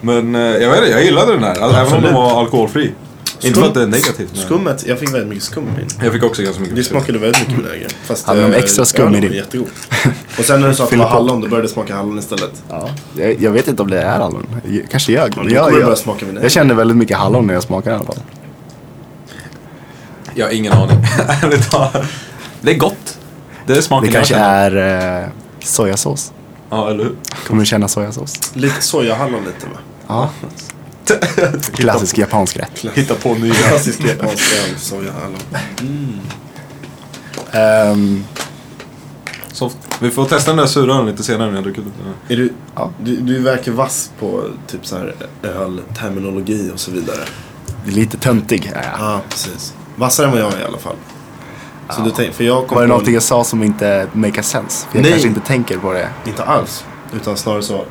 Speaker 2: Men eh, jag vet inte, jag gillade den här. Alltså, även om den var alkoholfri. Inte för att det är negativt. men-
Speaker 4: Skummet, jag fick väldigt mycket skum i min.
Speaker 2: Jag fick också ganska mycket
Speaker 4: Det
Speaker 2: skum.
Speaker 4: smakade väldigt mycket vinäger. Fast
Speaker 5: Hade de
Speaker 4: eh,
Speaker 5: extra skum i
Speaker 4: ölen var
Speaker 5: din?
Speaker 4: jättegod. Och sen när du sa att det var
Speaker 5: Fyll på.
Speaker 4: hallon, då började det smaka hallon istället.
Speaker 5: Ja, jag, jag vet inte om det är hallon. Jag- Kanske jag.
Speaker 4: nu kommer
Speaker 5: jag,
Speaker 4: det
Speaker 5: jag,
Speaker 4: börja smaka vinäger.
Speaker 5: jag kände väldigt mycket hallon när jag smakade i alla fall.
Speaker 2: Jag har ingen aning. Ärligt talat. Det är gott. Det är smaken
Speaker 5: Det kanske
Speaker 2: jag känner.
Speaker 5: är eh, sojasås.
Speaker 2: Ja, eller hur?
Speaker 5: Kommer du känna sojasås?
Speaker 4: Lite sojahallon lite va?
Speaker 5: Ja. Klassisk japansk rätt.
Speaker 2: Hitta på nya.
Speaker 4: Klassisk japansk öl, sojahallon.
Speaker 5: Ehm,
Speaker 2: Soft. Vi får testa den där sura ölen lite senare när jag druckit upp den. här.
Speaker 4: Är du,
Speaker 5: Ja.
Speaker 4: du, du verkar vass på typ så här ölterminologi och så vidare.
Speaker 5: lite töntig är jag.
Speaker 4: Ja, precis. Vassare än vad jag är i alla fall. Så du tänk, för jag kom
Speaker 5: Var det
Speaker 4: på
Speaker 5: någonting jag sa som inte make a sense? För jag
Speaker 4: Nej.
Speaker 5: kanske inte tänker på det.
Speaker 4: Inte alls. Utan snarare så.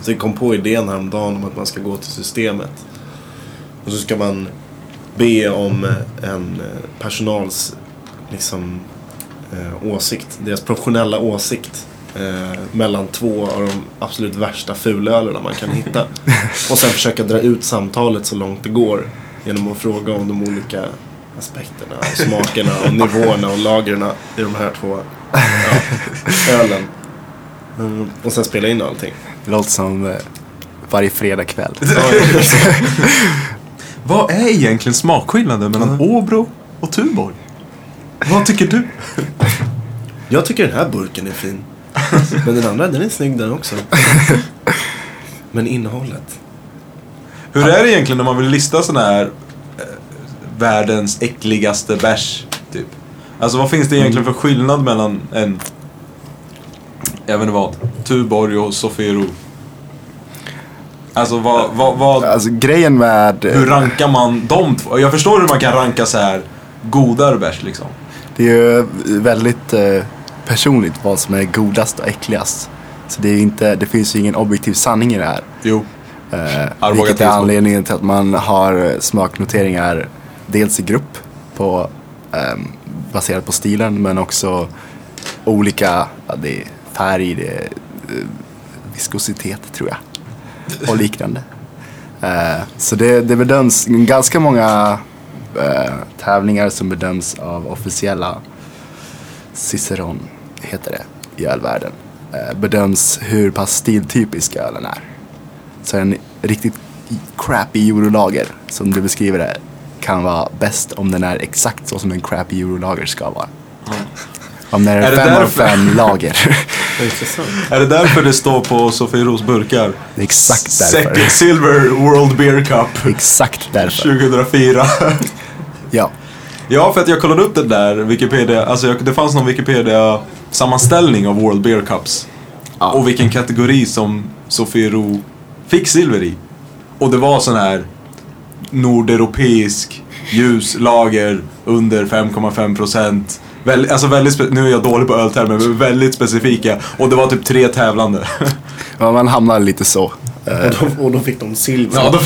Speaker 4: Så jag kom på idén häromdagen om att man ska gå till systemet. Och så ska man be om eh, en eh, personals liksom, eh, åsikt. Deras professionella åsikt. Eh, mellan två av de absolut värsta fulölerna man kan hitta. Och sen försöka dra ut samtalet så långt det går. Genom att fråga om de olika aspekterna, och smakerna, och nivåerna och lagren i de här två ja, ölen. Mm, Och sen spela in allting.
Speaker 5: Det låter som eh, varje fredagkväll.
Speaker 2: Vad är egentligen smakskillnaden mellan
Speaker 5: Mm.
Speaker 2: Åbro och Tuborg? Vad tycker du?
Speaker 4: Jag tycker den här burken är fin. Men den andra, den är snygg den också. Men innehållet.
Speaker 2: Hur är det egentligen när man vill lista sådana här eh, världens äckligaste bärs? Typ? Alltså vad finns det egentligen
Speaker 5: Mm.
Speaker 2: för skillnad mellan en, jag vet inte vad, Tuborg och Sofiero? Alltså vad, vad, vad,
Speaker 5: Alltså grejen med... eh,
Speaker 2: hur rankar man de två? Jag förstår hur man kan ranka så här godare bärs liksom.
Speaker 5: Det är ju väldigt eh, personligt vad som är godast och äckligast. Så det, är ju inte, det finns ju ingen objektiv sanning i det här.
Speaker 2: Jo.
Speaker 5: Eh,
Speaker 2: Arboga
Speaker 5: vilket är
Speaker 2: tillstånd.
Speaker 5: anledningen till att man har eh, smaknoteringar dels i grupp på, ehm, baserat på stilen men också olika ja, det är färg, det är, eh, viskositet tror jag och liknande. Eh, så det, det bedöms ganska många eh, tävlingar som bedöms av officiella Ciceron heter det i ölvärlden. Eh, bedöms hur pass stiltypisk ölen är. Så en riktigt crappy eurolager, som du beskriver det, kan vara bäst om den är exakt så som en crappy eurolager ska vara. Om den är,
Speaker 2: Är det
Speaker 5: en fem av
Speaker 2: därför-
Speaker 5: fem lager.
Speaker 2: Är det därför det står på Sofieros burkar?
Speaker 5: Det är exakt därför.
Speaker 2: Second Silver World Beer Cup
Speaker 5: exakt därför.
Speaker 2: 2004.
Speaker 5: Ja.
Speaker 2: Ja, för att jag kollade upp den där Wikipedia, alltså jag, det fanns någon Wikipedia-sammanställning av World Beer Cups.
Speaker 5: Ja.
Speaker 2: Och vilken kategori som Sofiero fick silver i. Och det var sån här nordeuropeisk ljus lager under 5,5 procent. Väl, alltså väldigt, spe- nu är jag dålig på öltermer, men väldigt specifika. Och det var typ tre tävlande.
Speaker 5: Ja, man hamnar lite så. Eh,
Speaker 4: Och då, och då fick de silver.
Speaker 2: Ja, då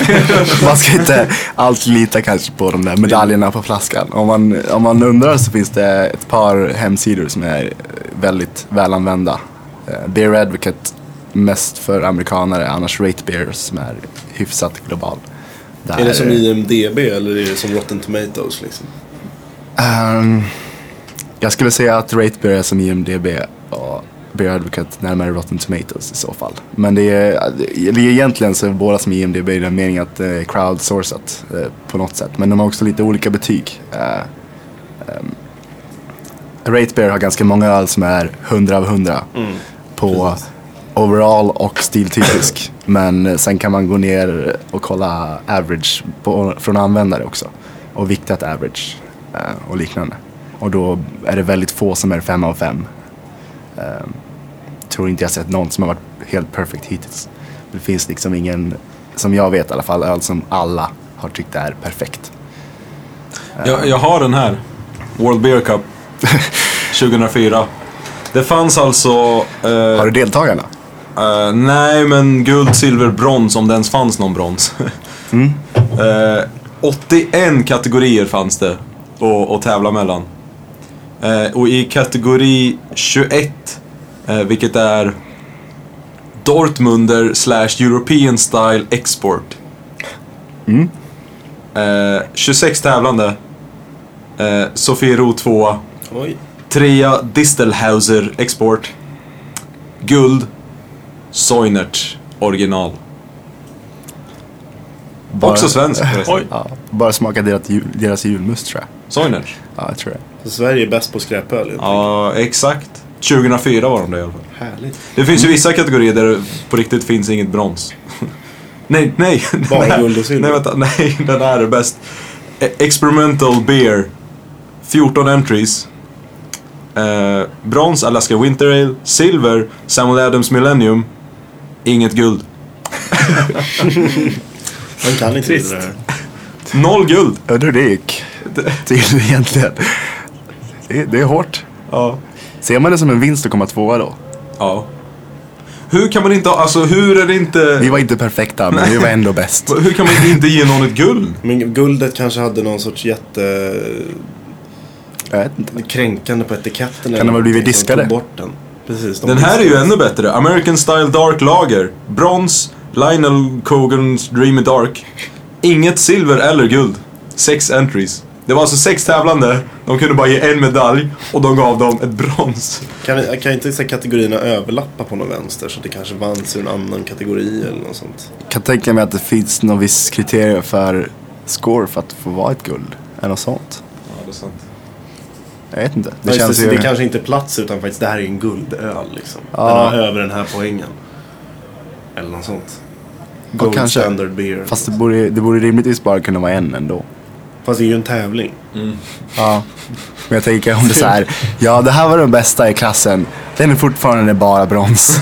Speaker 5: Man ska inte allt lita kanske på de där medaljerna på flaskan. Om man, om man undrar så finns det ett par hemsidor som är väldigt välanvända. Eh, Beer Advocate, mest för amerikanare, annars Rate Beer som är hyfsat global. Där, eh,
Speaker 4: Är det som IMDB eller är det som Rotten Tomatoes liksom?
Speaker 5: Ehm, jag skulle säga att Rate Beer är som IMDB och Beer Advocate närmare Rotten Tomatoes i så fall. Men det är, det är egentligen så är båda som IMDB i den meningen att det är crowdsourcat eh, på något sätt. Men de har också lite olika betyg. Eh, ehm, Rate Beer har ganska många öl som är 100 av 100 på overall och stiltypisk. Men eh, sen kan man gå ner och kolla average på, från användare också. Och viktat average eh, och liknande. Och då är det väldigt få som är fem av fem. Eh, tror inte jag sett någon som har varit helt perfekt hittills. Det finns liksom ingen, som jag vet i alla fall, öl som alla har tyckt är perfekt.
Speaker 2: Jag, jag har den här. World Beer Cup 2004. Det fanns alltså... eh,
Speaker 5: Har du deltagarna?
Speaker 2: Eh, nej, men guld, silver, brons om det ens fanns någon brons. Eh, 81 kategorier fanns det att, att tävla mellan. Eh, och i kategori 21, eh, vilket är Dortmunder slash European Style Export.
Speaker 5: Mm.
Speaker 2: Eh, 26 tävlande. Eh, Sofiero 2
Speaker 4: Oj.
Speaker 2: Trea Distelhauser Export. Guld. Soinert original.
Speaker 5: Bara-
Speaker 2: Också svensk förresten.
Speaker 3: Oj.
Speaker 5: Ja, bara smaka deras, jul, deras julmust tror jag.
Speaker 2: Soinert.
Speaker 5: Ja, jag tror det.
Speaker 4: Så Sverige är bäst på skräpöl. helt
Speaker 2: Ja, exakt. 2004 var de det i alla fall.
Speaker 4: enkelt. Härligt.
Speaker 2: Det finns ju vissa kategorier där det på riktigt finns inget brons. nej, nej. den
Speaker 4: Bara
Speaker 2: här-
Speaker 4: guld och silver.
Speaker 2: Nej, vänta. Nej, den här är bäst. E- Experimental Beer. 14 entries. Eh, brons Alaska Winter Ale. Silver Samuel Adams Millennium. Inget guld.
Speaker 4: Man kan inte
Speaker 3: Trist.
Speaker 4: det här.
Speaker 2: Noll guld.
Speaker 5: Jag undrar hur det gick till egentligen. Det, det är hårt.
Speaker 2: Ja.
Speaker 5: Ser man det som en vinst att komma tvåa då?
Speaker 2: Ja. Hur kan man inte ha, alltså hur är det
Speaker 5: Vi
Speaker 2: inte,
Speaker 5: var inte perfekta, men vi var ändå bäst.
Speaker 2: hur kan man inte ge någon ett guld?
Speaker 4: Men guldet kanske hade någon sorts jätte...
Speaker 5: Jag vet inte.
Speaker 4: kränkande på etiketten.
Speaker 5: de
Speaker 4: eller
Speaker 5: ha
Speaker 4: någonting,
Speaker 5: blivit
Speaker 4: så de
Speaker 5: diskade?
Speaker 4: tog bort den. Precis, de
Speaker 2: Den här är ju
Speaker 4: diskade.
Speaker 2: ännu bättre. American Style Dark Lager. Brons. Lionel Cogans Dreamy Dark. Inget silver eller guld. Sex entries. Det var alltså sex tävlande. De kunde bara ge en medalj och de gav dem ett brons.
Speaker 4: Kan, kan inte så här kategorierna överlappa på någon vänster så att det kanske vanns ur en annan kategori eller något sånt?
Speaker 5: Jag kan tänka mig att det finns någon viss kriterier för score för att få vara ett guld. Eller något sånt.
Speaker 2: Ja, det är sant.
Speaker 5: Jag vet inte.
Speaker 4: Det,
Speaker 5: Det känns
Speaker 4: Alltså, det,
Speaker 5: ju...
Speaker 4: det kanske inte är plats utan faktiskt det här är en guldöl liksom.
Speaker 5: Ja.
Speaker 4: Den har över den här poängen. Eller något sånt.
Speaker 5: Ja,
Speaker 4: Gold
Speaker 5: kanske.
Speaker 4: standard beer.
Speaker 5: Fast det borde, det borde rimligtvis bara kunna vara en ändå.
Speaker 4: Fast det är ju en tävling.
Speaker 5: Ja. Men jag tänker om det är så här, ja det här var den bästa i klassen. Den är fortfarande bara brons.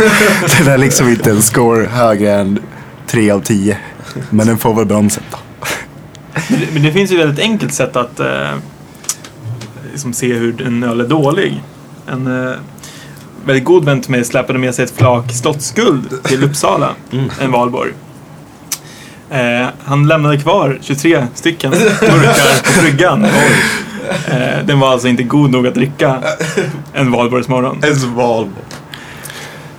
Speaker 5: Den är liksom inte en score högre än 3 av 10. Men den får väl bronset då.
Speaker 3: Men det- Men det finns ju ett väldigt enkelt sätt att eh, liksom se hur en öl är dålig. En eh, väldigt god vän till mig släpade med sig ett flak slottsguld till Uppsala,
Speaker 2: Mm.
Speaker 3: en valborg. Eh, han lämnade kvar 23 stycken burkar på bryggan. Eh, den var alltså inte god nog att dricka en valborgsmorgon.
Speaker 2: Ens val.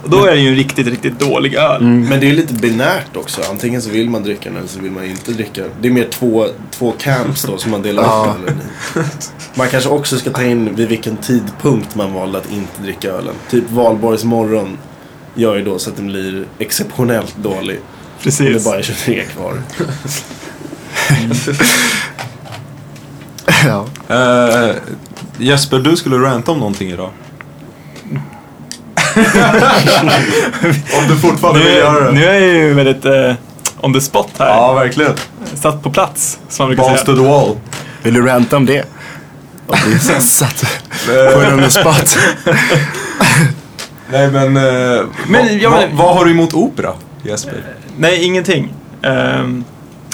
Speaker 3: Och då är det ju en riktigt, riktigt dålig öl.
Speaker 2: Mm.
Speaker 5: Mm.
Speaker 4: Men det är lite binärt också. Antingen så vill man dricka den eller så vill man inte dricka den. Det är mer två, två camps då som man delar upp ölen i. Man kanske också ska ta in vid vilken tidpunkt man valde att inte dricka ölen. Typ valborgs morgon gör ju då så att den blir exceptionellt dålig. Om det
Speaker 3: Precis.
Speaker 4: bara är 23 kvar.
Speaker 5: Ja.
Speaker 2: Eh, Jesper, du skulle ranta om någonting idag. om du fortfarande vill göra det.
Speaker 3: Nu, nu är jag ju väldigt eh, on the spot här.
Speaker 2: Ja, verkligen.
Speaker 3: Satt på plats, som man brukar
Speaker 2: Balls
Speaker 3: säga.
Speaker 2: to the wall.
Speaker 5: Vill du ranta om det? Ja, det är Satt på en under spot.
Speaker 2: Eh, Nej men, eh,
Speaker 3: Men,
Speaker 2: vad,
Speaker 3: ja, men-
Speaker 2: vad, vad har du emot opera, Jesper?
Speaker 3: Nej, ingenting. Ehm,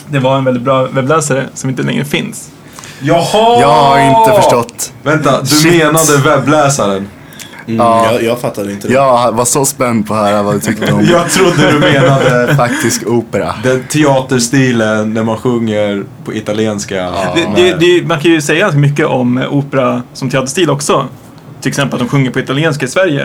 Speaker 3: det var en väldigt bra webbläsare som inte längre finns.
Speaker 2: Jaha!
Speaker 5: Jag har inte förstått.
Speaker 2: Vänta, du
Speaker 5: Shit.
Speaker 2: menade webbläsaren?
Speaker 4: Mm,
Speaker 5: Ja.
Speaker 4: jag, jag fattade inte det.
Speaker 5: Jag var så spänd på att höra vad du tyckte om
Speaker 2: Jag trodde du menade
Speaker 5: faktisk opera.
Speaker 2: den teaterstilen när man sjunger på italienska.
Speaker 3: det, det, det, man kan ju säga ganska mycket om eh, opera som teaterstil också. Till exempel att de sjunger på italienska i Sverige.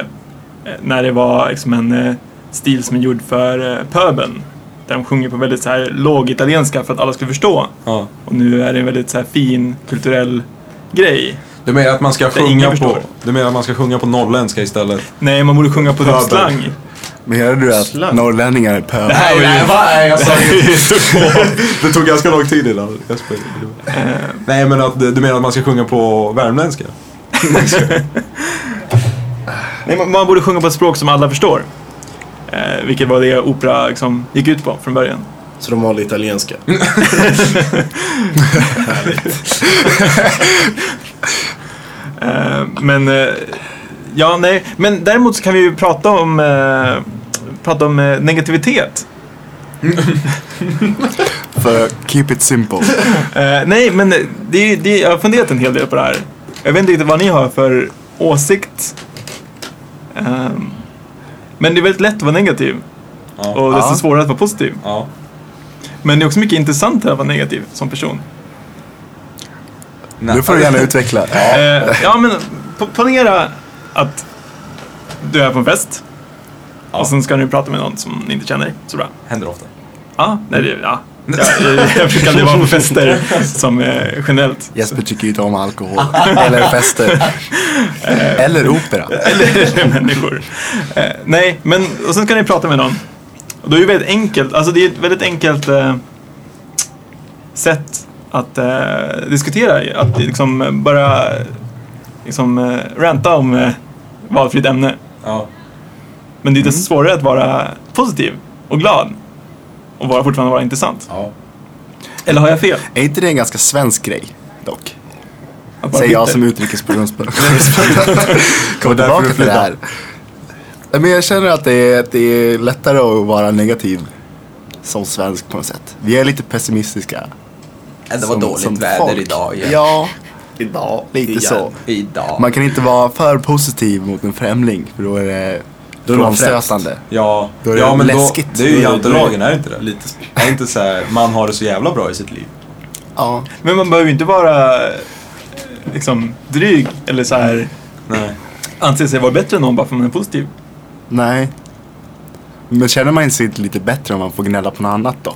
Speaker 3: eh, När det var liksom en eh, stil som är gjord för eh, pöbeln. Där de sjunger på väldigt så här låg italienska för att alla ska förstå.
Speaker 2: Ja.
Speaker 3: Och nu är det en väldigt så här fin kulturell grej.
Speaker 2: Du menar att man ska
Speaker 3: Det ingen
Speaker 2: sjunga på,
Speaker 3: förstår.
Speaker 2: du menar att man ska sjunga på norrländska istället?
Speaker 3: Nej, man borde sjunga på typ
Speaker 2: Pöbel.
Speaker 3: slang.
Speaker 5: Menar du att
Speaker 4: Slang.
Speaker 5: norrlänningar är pöbel?
Speaker 3: här är ju-
Speaker 2: jag sa Det tog ganska lång tid innan Jesper.
Speaker 3: Eh.
Speaker 2: Nej men att, du menar att man ska sjunga på värmländska?
Speaker 3: Nej, man, man borde sjunga på ett språk som alla förstår. Eh, vilket var det opera liksom, gick ut på från början.
Speaker 4: Så de valde italienska.
Speaker 5: Mm.
Speaker 3: Eh, men, eh, ja, nej. men däremot så kan vi ju prata om, eh, prata om eh, negativitet.
Speaker 5: För keep it simple.
Speaker 3: Eh, nej, men det, är ju- det, är- jag har funderat en hel del på det här. Jag vet inte riktigt vad ni har för åsikt. Eh, men det är väldigt lätt att vara negativ
Speaker 2: Ja.
Speaker 3: och desto
Speaker 5: Ja.
Speaker 3: svårare att vara positiv.
Speaker 2: ja.
Speaker 3: Men det är också mycket intressantare att vara negativ som person.
Speaker 5: Nu får du gärna utveckla.
Speaker 3: Eh, ja, men po- ponera att du är på en fest Och sen ska ni prata med någon som ni inte känner så bra.
Speaker 2: Händer ofta.
Speaker 3: Ja, nej, det, ja. Jag, jag brukar aldrig vara på fester som eh, generellt.
Speaker 5: Jesper tycker ju inte om alkohol. Eller fester. Eller opera.
Speaker 3: Eller människor. Eh, nej, men och sen ska ni prata med någon. Och då är det väldigt enkelt, alltså det är ett väldigt enkelt eh, sätt att eh, diskutera, att liksom eh, bara liksom, eh, ranta om eh, valfritt ämne.
Speaker 2: Ja.
Speaker 3: Men det
Speaker 5: Mm.
Speaker 3: är desto svårare att vara positiv och glad och vara, fortfarande vara intressant.
Speaker 2: ja.
Speaker 3: Eller har jag fel?
Speaker 5: Är inte det en ganska svensk grej, dock?
Speaker 3: Att vara
Speaker 5: Säger jag
Speaker 3: bitter?
Speaker 5: som utrikeskorrespondent. Kommer tillbaka till det här. Nej, Men jag känner att det, är, att det är lättare att vara negativ som svensk på något sätt. Vi är lite pessimistiska.
Speaker 6: Ja, Äh, det var
Speaker 5: som,
Speaker 6: dåligt
Speaker 5: som
Speaker 6: väder
Speaker 5: folk.
Speaker 6: idag igen.
Speaker 5: Ja, idag. Lite
Speaker 6: Igen.
Speaker 5: så.
Speaker 6: Idag.
Speaker 5: Man kan inte vara för positiv mot en främling för då är det
Speaker 4: Då är det
Speaker 5: frånstötande.
Speaker 2: Ja,
Speaker 5: Då är det
Speaker 2: ja men
Speaker 5: läskigt.
Speaker 2: Då, det är ju
Speaker 5: Då är-
Speaker 2: jantelagen, är det inte det?
Speaker 4: Lite sp-
Speaker 2: Är det inte så här, man har det så jävla bra i sitt liv?
Speaker 5: Ja.
Speaker 3: Men man behöver ju inte vara eh, liksom dryg eller så här
Speaker 2: Nej.
Speaker 3: anse sig vara bättre än någon bara för att man är positiv.
Speaker 5: Nej. Men känner man sig inte lite bättre om man får gnälla på något annat då?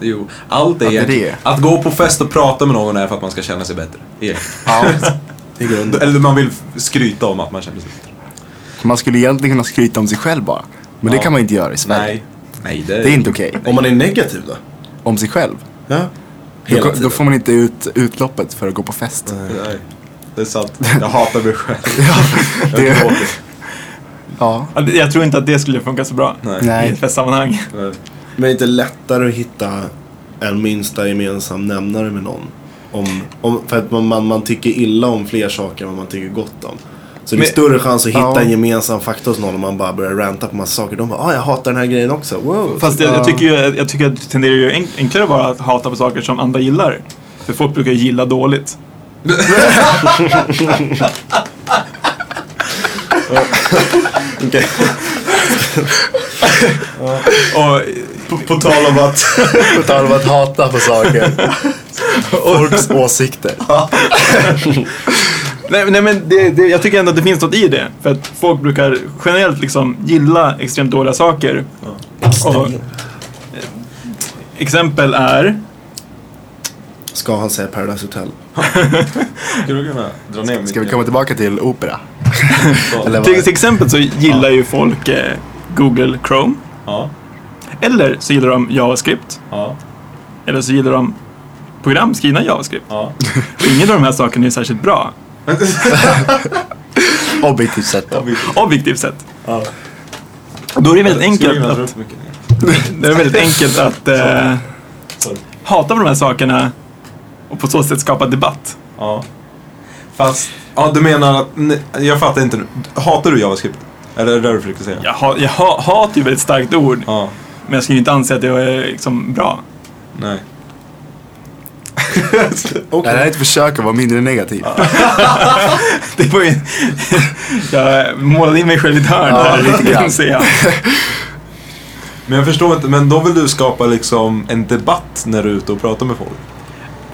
Speaker 2: Jo, allt är,
Speaker 5: Att det är
Speaker 2: egentligen-
Speaker 5: det.
Speaker 2: Att gå på fest och prata med någon är för att man ska känna sig bättre. egentligen.
Speaker 5: Ja.
Speaker 4: i grunden.
Speaker 2: Eller man vill skryta om att man känner sig bättre.
Speaker 5: Man skulle egentligen kunna skryta om sig själv bara. Men
Speaker 2: Ja.
Speaker 5: det kan man inte göra i Sverige.
Speaker 2: Nej. Nej, det,
Speaker 5: Det är inte okej.
Speaker 4: Om man är negativ då?
Speaker 5: Om sig själv.
Speaker 4: Ja. Hela
Speaker 5: Då,
Speaker 4: tiden.
Speaker 5: då får man inte ut utloppet för att gå på fest.
Speaker 2: Nej. Det är sant. Jag hatar mig själv. Jag
Speaker 5: Det,
Speaker 2: gråter.
Speaker 5: ja.
Speaker 3: Ja, det- Alltså, Jag tror inte att det skulle funka så bra
Speaker 2: Nej.
Speaker 3: i
Speaker 5: Nej.
Speaker 3: ett festsammanhang.
Speaker 2: Nej.
Speaker 4: Men är det inte lättare att hitta en minsta gemensam nämnare med någon? Om, om, för att man, man, man tycker illa om fler saker än vad man tycker gott om. Så det är
Speaker 3: Men-
Speaker 4: större chans att hitta
Speaker 5: Ja.
Speaker 4: en gemensam faktor hos någon om man bara börjar ranta på massa saker. De bara, ah, jag hatar den här grejen också. Wow.
Speaker 3: Fast jag, jag, tycker ju, jag tycker att det tenderar ju enk- enklare att vara att hata på saker som andra gillar. För folk brukar ju gilla dåligt.
Speaker 4: Okej.
Speaker 3: Och,
Speaker 4: på, på tal om att...
Speaker 5: På tal om att hata på saker. Folks åsikter.
Speaker 3: nej, nej men det, det, jag tycker ändå att det finns något i det. För att folk brukar generellt liksom gilla extremt dåliga saker. Och, eh, exempel är...
Speaker 4: Ska han säga Paradise Hotel?
Speaker 2: Skulle du kunna dra ner
Speaker 5: Ska vi
Speaker 2: micken?
Speaker 5: komma tillbaka till opera?
Speaker 2: Ja.
Speaker 5: Eller
Speaker 3: Till,
Speaker 5: vad?
Speaker 3: till exempel så gillar ju folk eh, Google Chrome.
Speaker 2: Ja,
Speaker 3: Eller så gillar de JavaScript.
Speaker 2: ja,
Speaker 3: Eller så gillar de program skrivna i JavaScript.
Speaker 2: ja.
Speaker 3: Och ingen av de här sakerna är särskilt bra.
Speaker 5: Objektivt sett då.
Speaker 3: objektivt sett. Då är det väldigt enkelt att, det är väldigt enkelt att eh,
Speaker 2: Sorry.
Speaker 3: hata på de här sakerna och på så sätt skapa debatt.
Speaker 2: Ja. Fast, ja du menar att, nej, jag fattar inte. Hatar du JavaScript? Eller är det det du försökte säga?
Speaker 3: Jag, ha, jag ha, hat är ju väldigt starkt ord,
Speaker 2: Ja,
Speaker 3: men jag skulle ju inte anse att det är liksom bra.
Speaker 2: nej.
Speaker 5: Det här är ett försök att vara mindre negativ.
Speaker 3: Det var ju, jag målade in mig själv i ett hörn.
Speaker 5: Ja,
Speaker 3: där,
Speaker 5: lite grann.
Speaker 3: inser jag.
Speaker 2: Men jag förstår inte, men då vill du skapa liksom en debatt när du är ute och pratar med folk?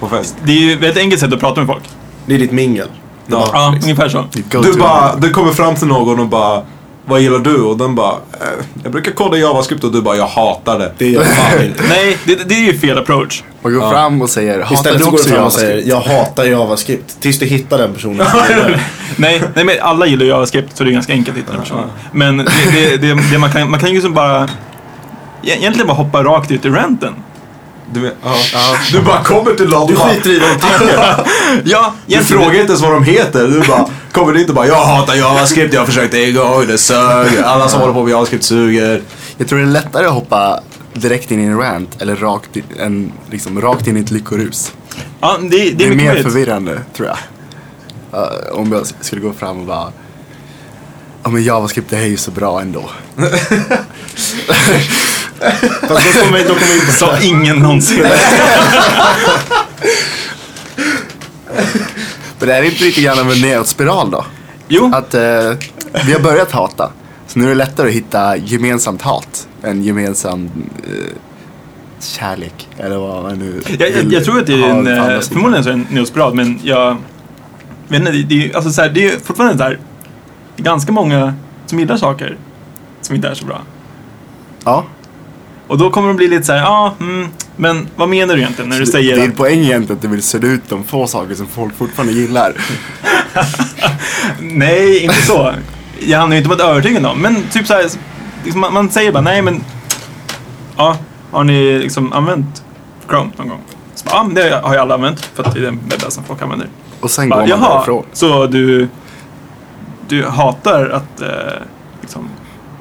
Speaker 2: På fest?
Speaker 3: Det är ju ett väldigt enkelt sätt att prata med folk.
Speaker 4: Det är ditt mingel.
Speaker 3: Ja, ungefär så.
Speaker 5: Go
Speaker 2: Du
Speaker 5: to-
Speaker 2: bara, du kommer fram till någon och bara Vad gillar du? Och den bara eh, Jag brukar koda JavaScript och du bara jag hatar det.
Speaker 4: Det är jag fan inte.
Speaker 3: Nej, det, det är ju fel approach.
Speaker 5: Man går fram och säger, hatar
Speaker 4: Istället
Speaker 5: du
Speaker 4: så går du
Speaker 5: också
Speaker 4: fram och säger,
Speaker 5: JavaScript?
Speaker 4: jag hatar JavaScript. Tills du hittar den personen. som gillar det.
Speaker 3: Nej, nej men alla gillar ju JavaScript så det är ganska enkelt att hitta den personen. Men det, det, det, det man, kan, man kan ju liksom bara... e-, Egentligen bara hoppa rakt ut i ranten.
Speaker 2: Du, men- ja, ja. du bara kommer till någon
Speaker 4: Du
Speaker 2: bara-
Speaker 4: skiter i vad de tycker.
Speaker 3: Ja,
Speaker 2: Du
Speaker 3: egentligen.
Speaker 2: frågar inte ens vad de heter. Du bara kommer dit och bara jag hatar JavaScript, jag försökte en gång, det sög. Alla som håller på med JavaScript suger.
Speaker 5: Jag tror det är lättare att hoppa direkt in i en rant eller rakt in, en, liksom, rakt in i ett lyckorus.
Speaker 3: Ja, det, det är,
Speaker 5: Det är,
Speaker 3: mycket
Speaker 5: mer
Speaker 3: möjligt.
Speaker 5: förvirrande, tror jag. Eh, om jag skulle gå fram och bara... Ja men JavaScript det är ju så bra ändå.
Speaker 4: Fast då kommer vi- då kommer vi in
Speaker 3: Sa ingen någonsin.
Speaker 5: Men det är inte lite grann av en nedåtspiral då?
Speaker 3: Jo,
Speaker 5: Att eh, vi har börjat hata. Så nu är det lättare att hitta gemensamt hat än gemensam eh, kärlek. Eller vad man nu
Speaker 3: jag, jag,
Speaker 5: vill
Speaker 3: jag tror att det är
Speaker 5: ha
Speaker 3: en,
Speaker 5: på andra
Speaker 3: eh,
Speaker 5: sidan.
Speaker 3: förmodligen så är det en neospiral, men jag vet inte, det, det, är ju- alltså, så här, det är ju fortfarande så här, ganska många som gillar saker som inte är så bra.
Speaker 5: Ja.
Speaker 3: Och då kommer de bli lite så här, ja, ah, mm, men vad menar du egentligen när du
Speaker 5: Så
Speaker 3: säger
Speaker 5: Din
Speaker 3: att...
Speaker 5: poäng är egentligen att du vill sudda ut de få saker som folk fortfarande gillar.
Speaker 3: Nej, inte så. Jag handlar ju inte om att övertyga någon, men typ så här, liksom, man, man säger bara, nej men, ja, har ni liksom använt Chrome någon gång? Så bara, Ja, men det har jag alla använt, för att det är den webbläsaren folk använder.
Speaker 5: Och sen går
Speaker 3: Bara,
Speaker 5: man
Speaker 3: Jaha,
Speaker 5: därifrån.
Speaker 3: så du, du hatar att eh, liksom,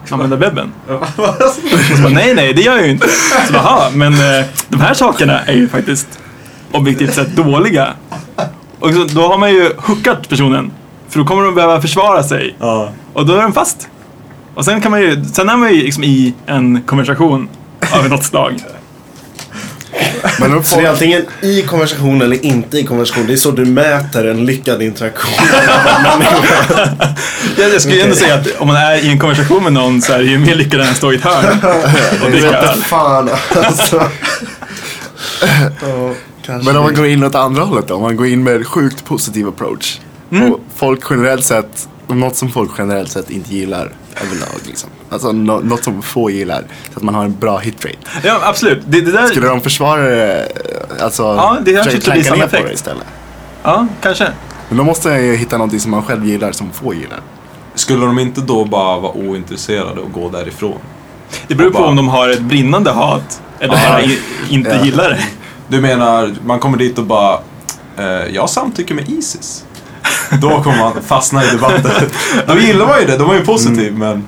Speaker 3: använda webben? Så bara, nej, nej, det gör jag ju inte. Så bara, "Jaha, men eh, de här sakerna är ju faktiskt objektivt sett dåliga. Och så, då har man ju hookat personen, för då kommer de behöva försvara sig.
Speaker 2: Ja.
Speaker 3: Och då är den fast. Och sen, kan man ju, sen är man ju liksom i en konversation av något slag.
Speaker 5: Men om
Speaker 4: Så det är
Speaker 5: folk,
Speaker 4: antingen i konversation eller inte i konversation. Det är så du mäter en lyckad interaktion.
Speaker 3: Jag, jag skulle ändå säga att om man är i en konversation med någon så är det ju mer lyckad än att stå i ett hörn och dricka öl.
Speaker 4: Fan alltså.
Speaker 5: men om man går in åt andra hållet då? Om man går in med en sjukt positiv approach.
Speaker 3: Mm.
Speaker 5: Och folk generellt sett, något som folk generellt sett inte gillar överlag liksom. Alltså nå- något som få gillar. Så att man har en bra hitrate.
Speaker 3: Ja, absolut. Det, det där,
Speaker 5: Skulle de försvara det, eh, alltså
Speaker 3: Ja, det kanske
Speaker 5: försöka
Speaker 3: inte blir
Speaker 5: klanka
Speaker 3: samma
Speaker 5: ner på
Speaker 3: effekt.
Speaker 5: det istället.
Speaker 3: ja, kanske.
Speaker 5: Men då måste jag ju hitta någonting som man själv gillar som få gillar.
Speaker 2: Skulle de inte då bara vara ointresserade och gå därifrån?
Speaker 3: Det beror på
Speaker 2: Bara-
Speaker 3: om de har ett brinnande hat eller bara i, inte
Speaker 5: Ja.
Speaker 3: gillar det.
Speaker 2: Du menar, man kommer dit och bara, eh, jag samtycker med Isis. Då kommer man fastna i debatten. Då gillar man ju det, de var ju positiv men...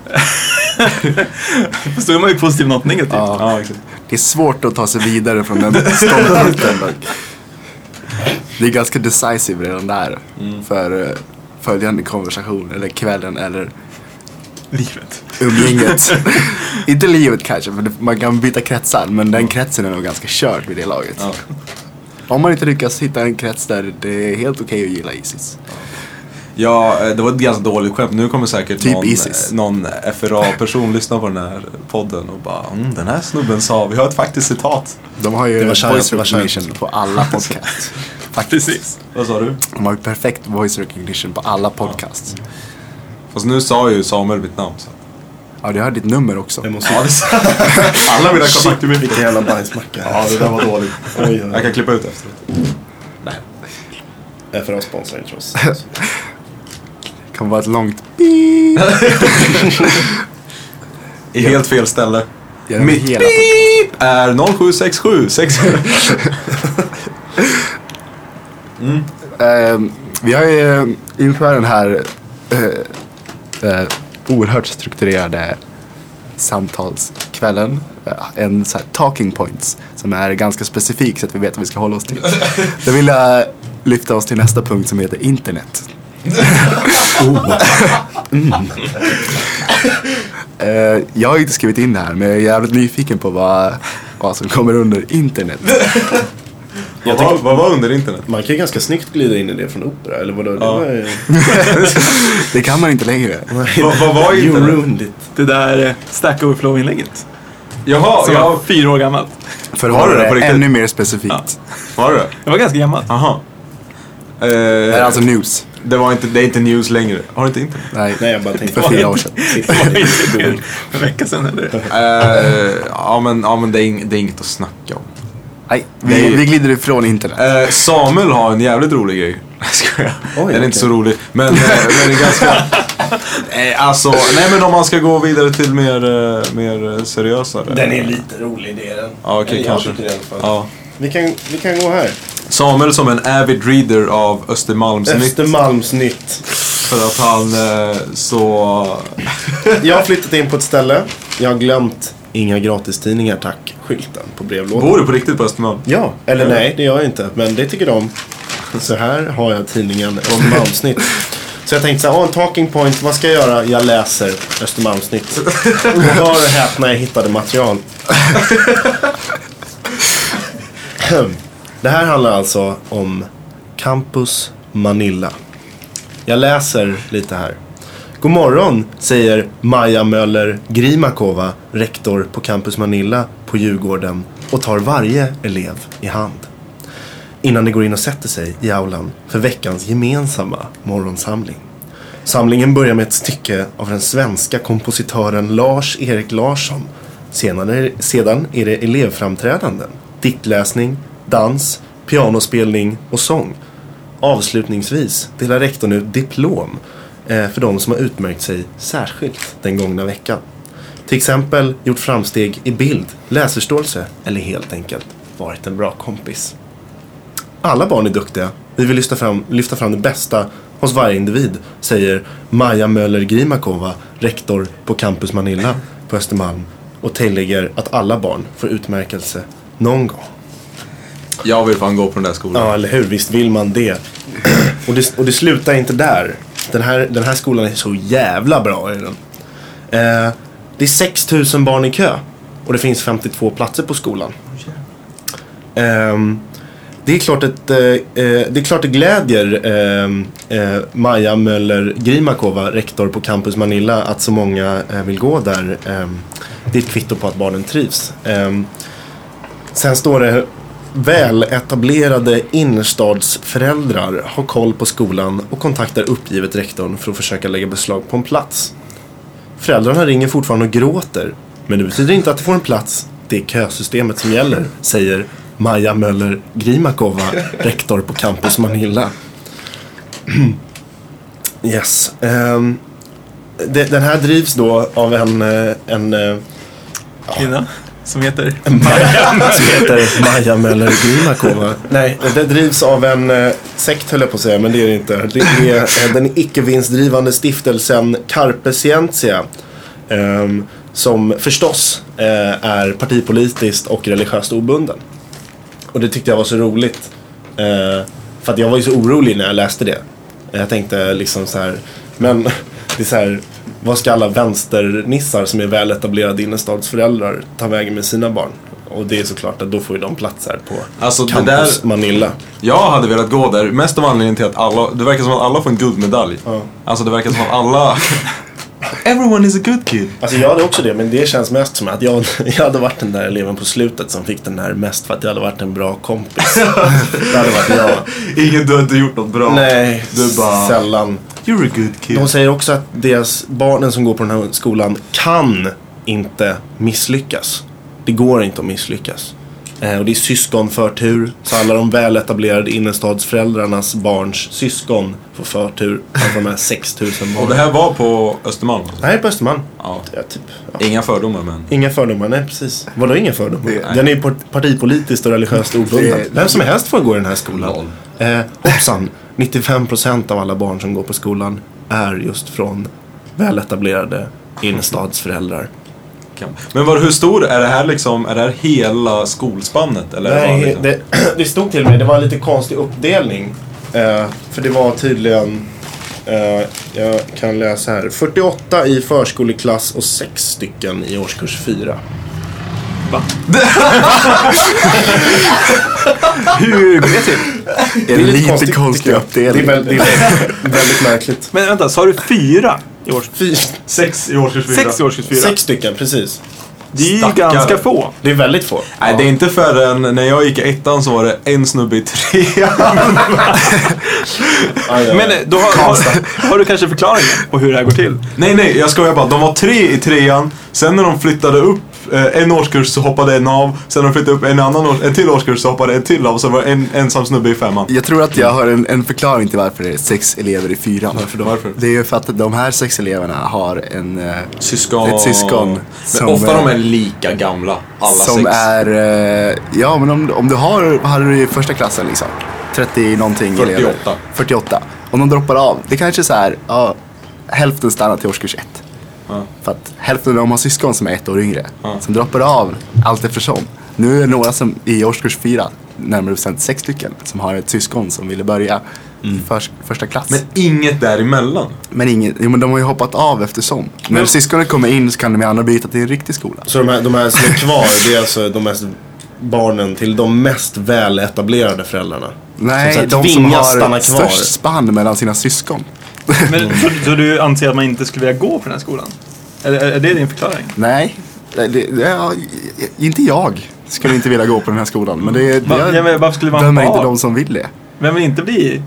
Speaker 3: Fast då är man ju positiv något negativt.
Speaker 5: Ja.
Speaker 2: Ja, exakt.
Speaker 5: Det är svårt att ta sig vidare från den ståndpunkten. dock. Det är ganska decisive redan där. För eh, följande konversation, eller kvällen, eller
Speaker 3: Livet.
Speaker 5: umgänget. Inte livet kanske, för det- man kan byta kretsar. Men den kretsen är nog ganska körd vid det laget.
Speaker 2: Ja.
Speaker 5: Om man inte lyckas hitta en krets där det är helt okej att gilla Isis.
Speaker 2: Ja, eh, det var ett ganska dåligt skämt. Nu kommer säkert
Speaker 5: Typ
Speaker 2: någon,
Speaker 5: Isis.
Speaker 2: eh, någon FRA-person lyssna på den här podden och bara mm, den här snubben sa, vi har ett faktiskt citat.
Speaker 5: De har ju
Speaker 4: Det var skönt,
Speaker 5: voice
Speaker 4: det var skönt.
Speaker 5: recognition på alla podcast.
Speaker 3: Precis.
Speaker 2: Vad sa du?
Speaker 5: De har ju perfekt voice recognition på alla podcasts.
Speaker 2: Fast nu sa ju Samuel mitt namn. Så. att-
Speaker 5: Ja, du har ditt nummer också.
Speaker 4: Jag måste...
Speaker 2: Alla mina
Speaker 4: Shit
Speaker 2: kontakter med
Speaker 4: vilken jävla bajsmacka.
Speaker 2: Ja, det där var dåligt.
Speaker 4: Oj, oj,
Speaker 2: Jag kan klippa ut efteråt.
Speaker 4: oj. FRA sponsrar inte oss.
Speaker 5: Det kommer vara ett långt
Speaker 2: I helt fel ställe.
Speaker 5: Genom
Speaker 2: Mitt
Speaker 5: hela
Speaker 2: beep är 0767 67.
Speaker 5: Eh, vi har ju eh, inför den här eh, eh, oerhört strukturerade samtalskvällen eh, en så här talking points som är ganska specifik så att vi vet vad vi ska hålla oss till. Då vill jag lyfta oss till nästa punkt som heter internet. oh. mm. eh, jag har inte skrivit in det här men jag är jävligt nyfiken på vad, vad som kommer under internet.
Speaker 2: Vad var- vad var under internet?
Speaker 4: Man kan ju ganska snyggt glida in i det från opera. Eller vadå? Det
Speaker 2: Ja.
Speaker 4: var ju...
Speaker 5: Det kan man inte längre.
Speaker 2: Vad- vad var
Speaker 4: You
Speaker 2: internet?
Speaker 4: ruined it.
Speaker 3: Det där eh, Stack Overflow-inlägget.
Speaker 2: Jaha,
Speaker 3: Som var
Speaker 2: jag...
Speaker 3: fyra år gammalt.
Speaker 5: För
Speaker 2: Har
Speaker 5: har
Speaker 2: du
Speaker 5: du
Speaker 2: det på
Speaker 5: det
Speaker 2: riktigt?
Speaker 5: ännu mer specifikt.
Speaker 2: Var det?
Speaker 3: Det var ganska gammalt.
Speaker 2: Jaha.
Speaker 5: Det är
Speaker 2: Eh,
Speaker 5: alltså news.
Speaker 2: det, var inte, det är inte news längre. Har du inte internet?
Speaker 5: Nej,
Speaker 4: Nej, jag bara tänkte...
Speaker 5: för fyra år sedan.
Speaker 3: Det var inte mer en vecka sedan eller?
Speaker 2: Eh, ja, men, ja, men det, är, ing- det är inget att snacka om.
Speaker 5: Nej, vi, vi glider ifrån internet.
Speaker 2: Eh, Samuel har en jävligt rolig grej. Skojar. Den är
Speaker 4: okej.
Speaker 2: inte så rolig. Men, eh, men det är ganska... Eh, alltså, nej men om man ska gå vidare till mer, eh, mer eh, seriösare.
Speaker 4: lite rolig, det är den.
Speaker 2: Ja, okej,
Speaker 4: Eller jag
Speaker 2: kanske.
Speaker 4: tycker det i alla fall.
Speaker 2: Ja.
Speaker 4: Vi, kan, vi kan gå här.
Speaker 2: Samuel som en avid reader av Östermalmsnytt.
Speaker 4: Östermalmsnytt.
Speaker 2: För att han eh, så...
Speaker 4: Jag har flyttat in på ett ställe. Jag har glömt inga gratistidningar tack-skylten på brevlådan.
Speaker 2: Bor du på riktigt på Östermalm?
Speaker 4: Ja, eller nej, Eh, det gör jag inte. Men det tycker de. Så här har jag tidningen Östermalmsnytt. Så jag tänkte så här, "Åh, en talking point, vad ska jag göra? Jag läser Östermalmsnytt. Och hör och häpna, jag hittade material. Det här handlar alltså om Campus Manilla. Jag läser lite här. God morgon, säger Maja Möller Grimakova, rektor på Campus Manilla på Djurgården och tar varje elev i hand. Innan de går in och sätter sig i aulan för veckans gemensamma morgonsamling. Samlingen börjar med ett stycke av den svenska kompositören Lars-Erik Larsson. Senare, sedan är det elevframträdanden, diktläsning, dans, pianospelning och sång. Avslutningsvis delar rektorn ut diplom eh, för de som har utmärkt sig särskilt den gångna veckan. Till exempel gjort framsteg i bild, läsförståelse eller helt enkelt varit en bra kompis. Alla barn är duktiga. Vi vill lyfta fram, lyfta fram det bästa hos varje individ, säger Maja Möller Grimakova, rektor på Campus Manilla på Östermalm och tillägger att alla barn får utmärkelse någon gång.
Speaker 2: Jag vill fan gå på den där skolan.
Speaker 4: Ja, eller hur? Visst vill man det. Och det, och det slutar inte där. Den här, den här skolan är så jävla bra. Är den. Eh, det är 6 000 barn i kö och det finns 52 platser på skolan. Ehm, det, är klart att, eh, eh, det är klart det glädjer ehm, eh, Maja Möller Grimakova, rektor på Campus Manilla, att så många eh, vill gå där. Ehm, det är ett kvitto på att barnen trivs. Ehm, Sen står det väletablerade innerstadsföräldrar har koll på skolan och kontaktar uppgivet rektorn för att försöka lägga beslag på en plats. Föräldrarna ringer fortfarande och gråter, men det betyder inte att de får en plats. Det är kösystemet som gäller, säger Maja Möller Grimakova, rektor på Campus Manilla. Yes. ehm, de- den här drivs då av en, eh, en eh,
Speaker 3: Kvinna som heter...
Speaker 2: Mm.
Speaker 4: som heter Maja Möller Grimakova. Nej, det drivs av en eh, sekt höll jag på att säga, men det är det inte. Det är eh, den icke-vinstdrivande stiftelsen Carpe Scientia. ehm, som förstås eh, är partipolitiskt och religiöst obunden. Och det tyckte jag var så roligt. Eh, för att jag var ju så orolig när jag läste det. Jag tänkte liksom så här, men det är så här, vad ska alla vänsternissar som är väletablerade innerstadsföräldrar ta vägen med sina barn? Och det är såklart att då får ju de plats här på
Speaker 2: Alltså, det
Speaker 4: Campus
Speaker 2: där-
Speaker 4: Manilla.
Speaker 2: Jag hade velat gå där, mest av anledningen till att alla, det verkar som att alla får en guldmedalj.
Speaker 4: Ja.
Speaker 2: Alltså det verkar som att alla... Everyone is a good kid.
Speaker 4: Alltså jag hade också det, men det känns mest som att jag, jag hade varit den där eleven på slutet som fick den här mest för att jag hade varit en bra kompis. det hade varit jag.
Speaker 2: Ingen, du har inte gjort något bra.
Speaker 4: Nej,
Speaker 2: Du bara-
Speaker 4: sällan.
Speaker 2: You're a good kid.
Speaker 4: De säger också att deras barnen som går på den här skolan kan inte misslyckas. Det går inte att misslyckas. Eh, och det är syskonförtur. Så alla de väletablerade innerstadsföräldrarnas barns syskon får förtur av de här 6000
Speaker 2: Och det
Speaker 4: barnen.
Speaker 2: här var på Östermalm? alltså?
Speaker 4: Nej, på Östermalm.
Speaker 2: Ja.
Speaker 4: Ja, typ. Ja.
Speaker 2: Inga fördomar men.
Speaker 4: Inga fördomar, nej precis. Vadå inga fördomar?
Speaker 5: Det-
Speaker 4: Den är ju part- partipolitiskt och religiöst obunden.
Speaker 5: Det-
Speaker 4: Vem som helst får gå i den här skolan.
Speaker 2: Lol.
Speaker 4: Eh, hoppsan, 95% av alla barn som går på skolan är just från väletablerade innerstadsföräldrar.
Speaker 2: Kan- Men var, hur stor är det här liksom? Är det här hela skolspannet? Eller är det bara
Speaker 4: Nej,
Speaker 2: liksom?
Speaker 4: det, det stod till mig, det var en lite konstig uppdelning. Eh, för det var tydligen, eh, jag kan läsa här, 48 i förskoleklass och 6 stycken i årskurs 4.
Speaker 3: Va?
Speaker 5: Hur går det till? Är det
Speaker 4: lite
Speaker 5: lite
Speaker 4: konstigt,
Speaker 5: konstig
Speaker 4: tycker jag. Det är,
Speaker 5: uppdelning?
Speaker 4: väl, det är väldigt, väldigt märkligt.
Speaker 3: Men vänta, sa du fyra i års...
Speaker 4: Fy-
Speaker 2: Sex i årskurs fyra.
Speaker 3: Sex i årskurs fyra?
Speaker 4: Sex stycken, precis.
Speaker 3: Det är ju
Speaker 2: Stackare.
Speaker 3: ganska få.
Speaker 4: Det är väldigt få.
Speaker 2: Nej, det är inte förrän när jag gick i ettan så var det en snubbe i trean.
Speaker 4: Aj, aj, aj.
Speaker 3: Men eh, då har, har, har du kanske förklaringen på hur det här går till?
Speaker 2: Nej, nej, jag skojar bara. De var tre i trean. Sen när de flyttade upp eh, en årskurs så hoppade en av. Sen när de flyttade upp en annan års, en till årskurs så hoppade en till av. Så var det en ensam snubbe i femman.
Speaker 5: Jag tror att jag har en, en förklaring till varför det är sex elever i fyran.
Speaker 2: Varför då? Varför?
Speaker 5: Det är ju för att de här sex eleverna har en... eh,
Speaker 2: Syskon.
Speaker 5: Ett syskon.
Speaker 2: Men
Speaker 5: Som
Speaker 2: ofta
Speaker 5: är-
Speaker 2: de är lika gamla. Alla
Speaker 5: som
Speaker 2: sex.
Speaker 5: är... eh, Ja, men om, om du har... Vad hade du i första klassen liksom? 30 någonting
Speaker 2: 48.
Speaker 5: elever. 48. Om de droppar av, det kanske är så här... Ja, hälften stannar till årskurs ett.
Speaker 2: Ja.
Speaker 5: För att hälften av dem har syskon som är ett år yngre.
Speaker 2: Ja.
Speaker 5: Som droppar av allt eftersom. Nu är det några som i årskurs fyra, närmare bestämt sex stycken, som har ett syskon som ville börja i förs- första klass.
Speaker 2: Mm. Men inget däremellan.
Speaker 5: Men, ingen, jo, men de har ju hoppat av eftersom. När syskonen kommer in så kan de ju andra byta till en riktig skola.
Speaker 4: Så de här, de här som är kvar, det är alltså de mest barnen till de mest väletablerade föräldrarna.
Speaker 5: Nej,
Speaker 4: så här
Speaker 5: de som
Speaker 4: tvingas stanna
Speaker 5: har
Speaker 4: kvar.
Speaker 5: störst spann mellan sina syskon.
Speaker 2: Mm.
Speaker 3: Men, så, så du anser att man inte skulle vilja gå på den här skolan? Är, är, är det din förklaring?
Speaker 5: Nej, det, det, det, ja, inte jag skulle inte vilja gå på den här skolan. Men det, det
Speaker 3: Va- ja, men varför skulle man
Speaker 5: dömer
Speaker 3: ha-
Speaker 5: inte de som vill det.
Speaker 3: Vem vill inte bli...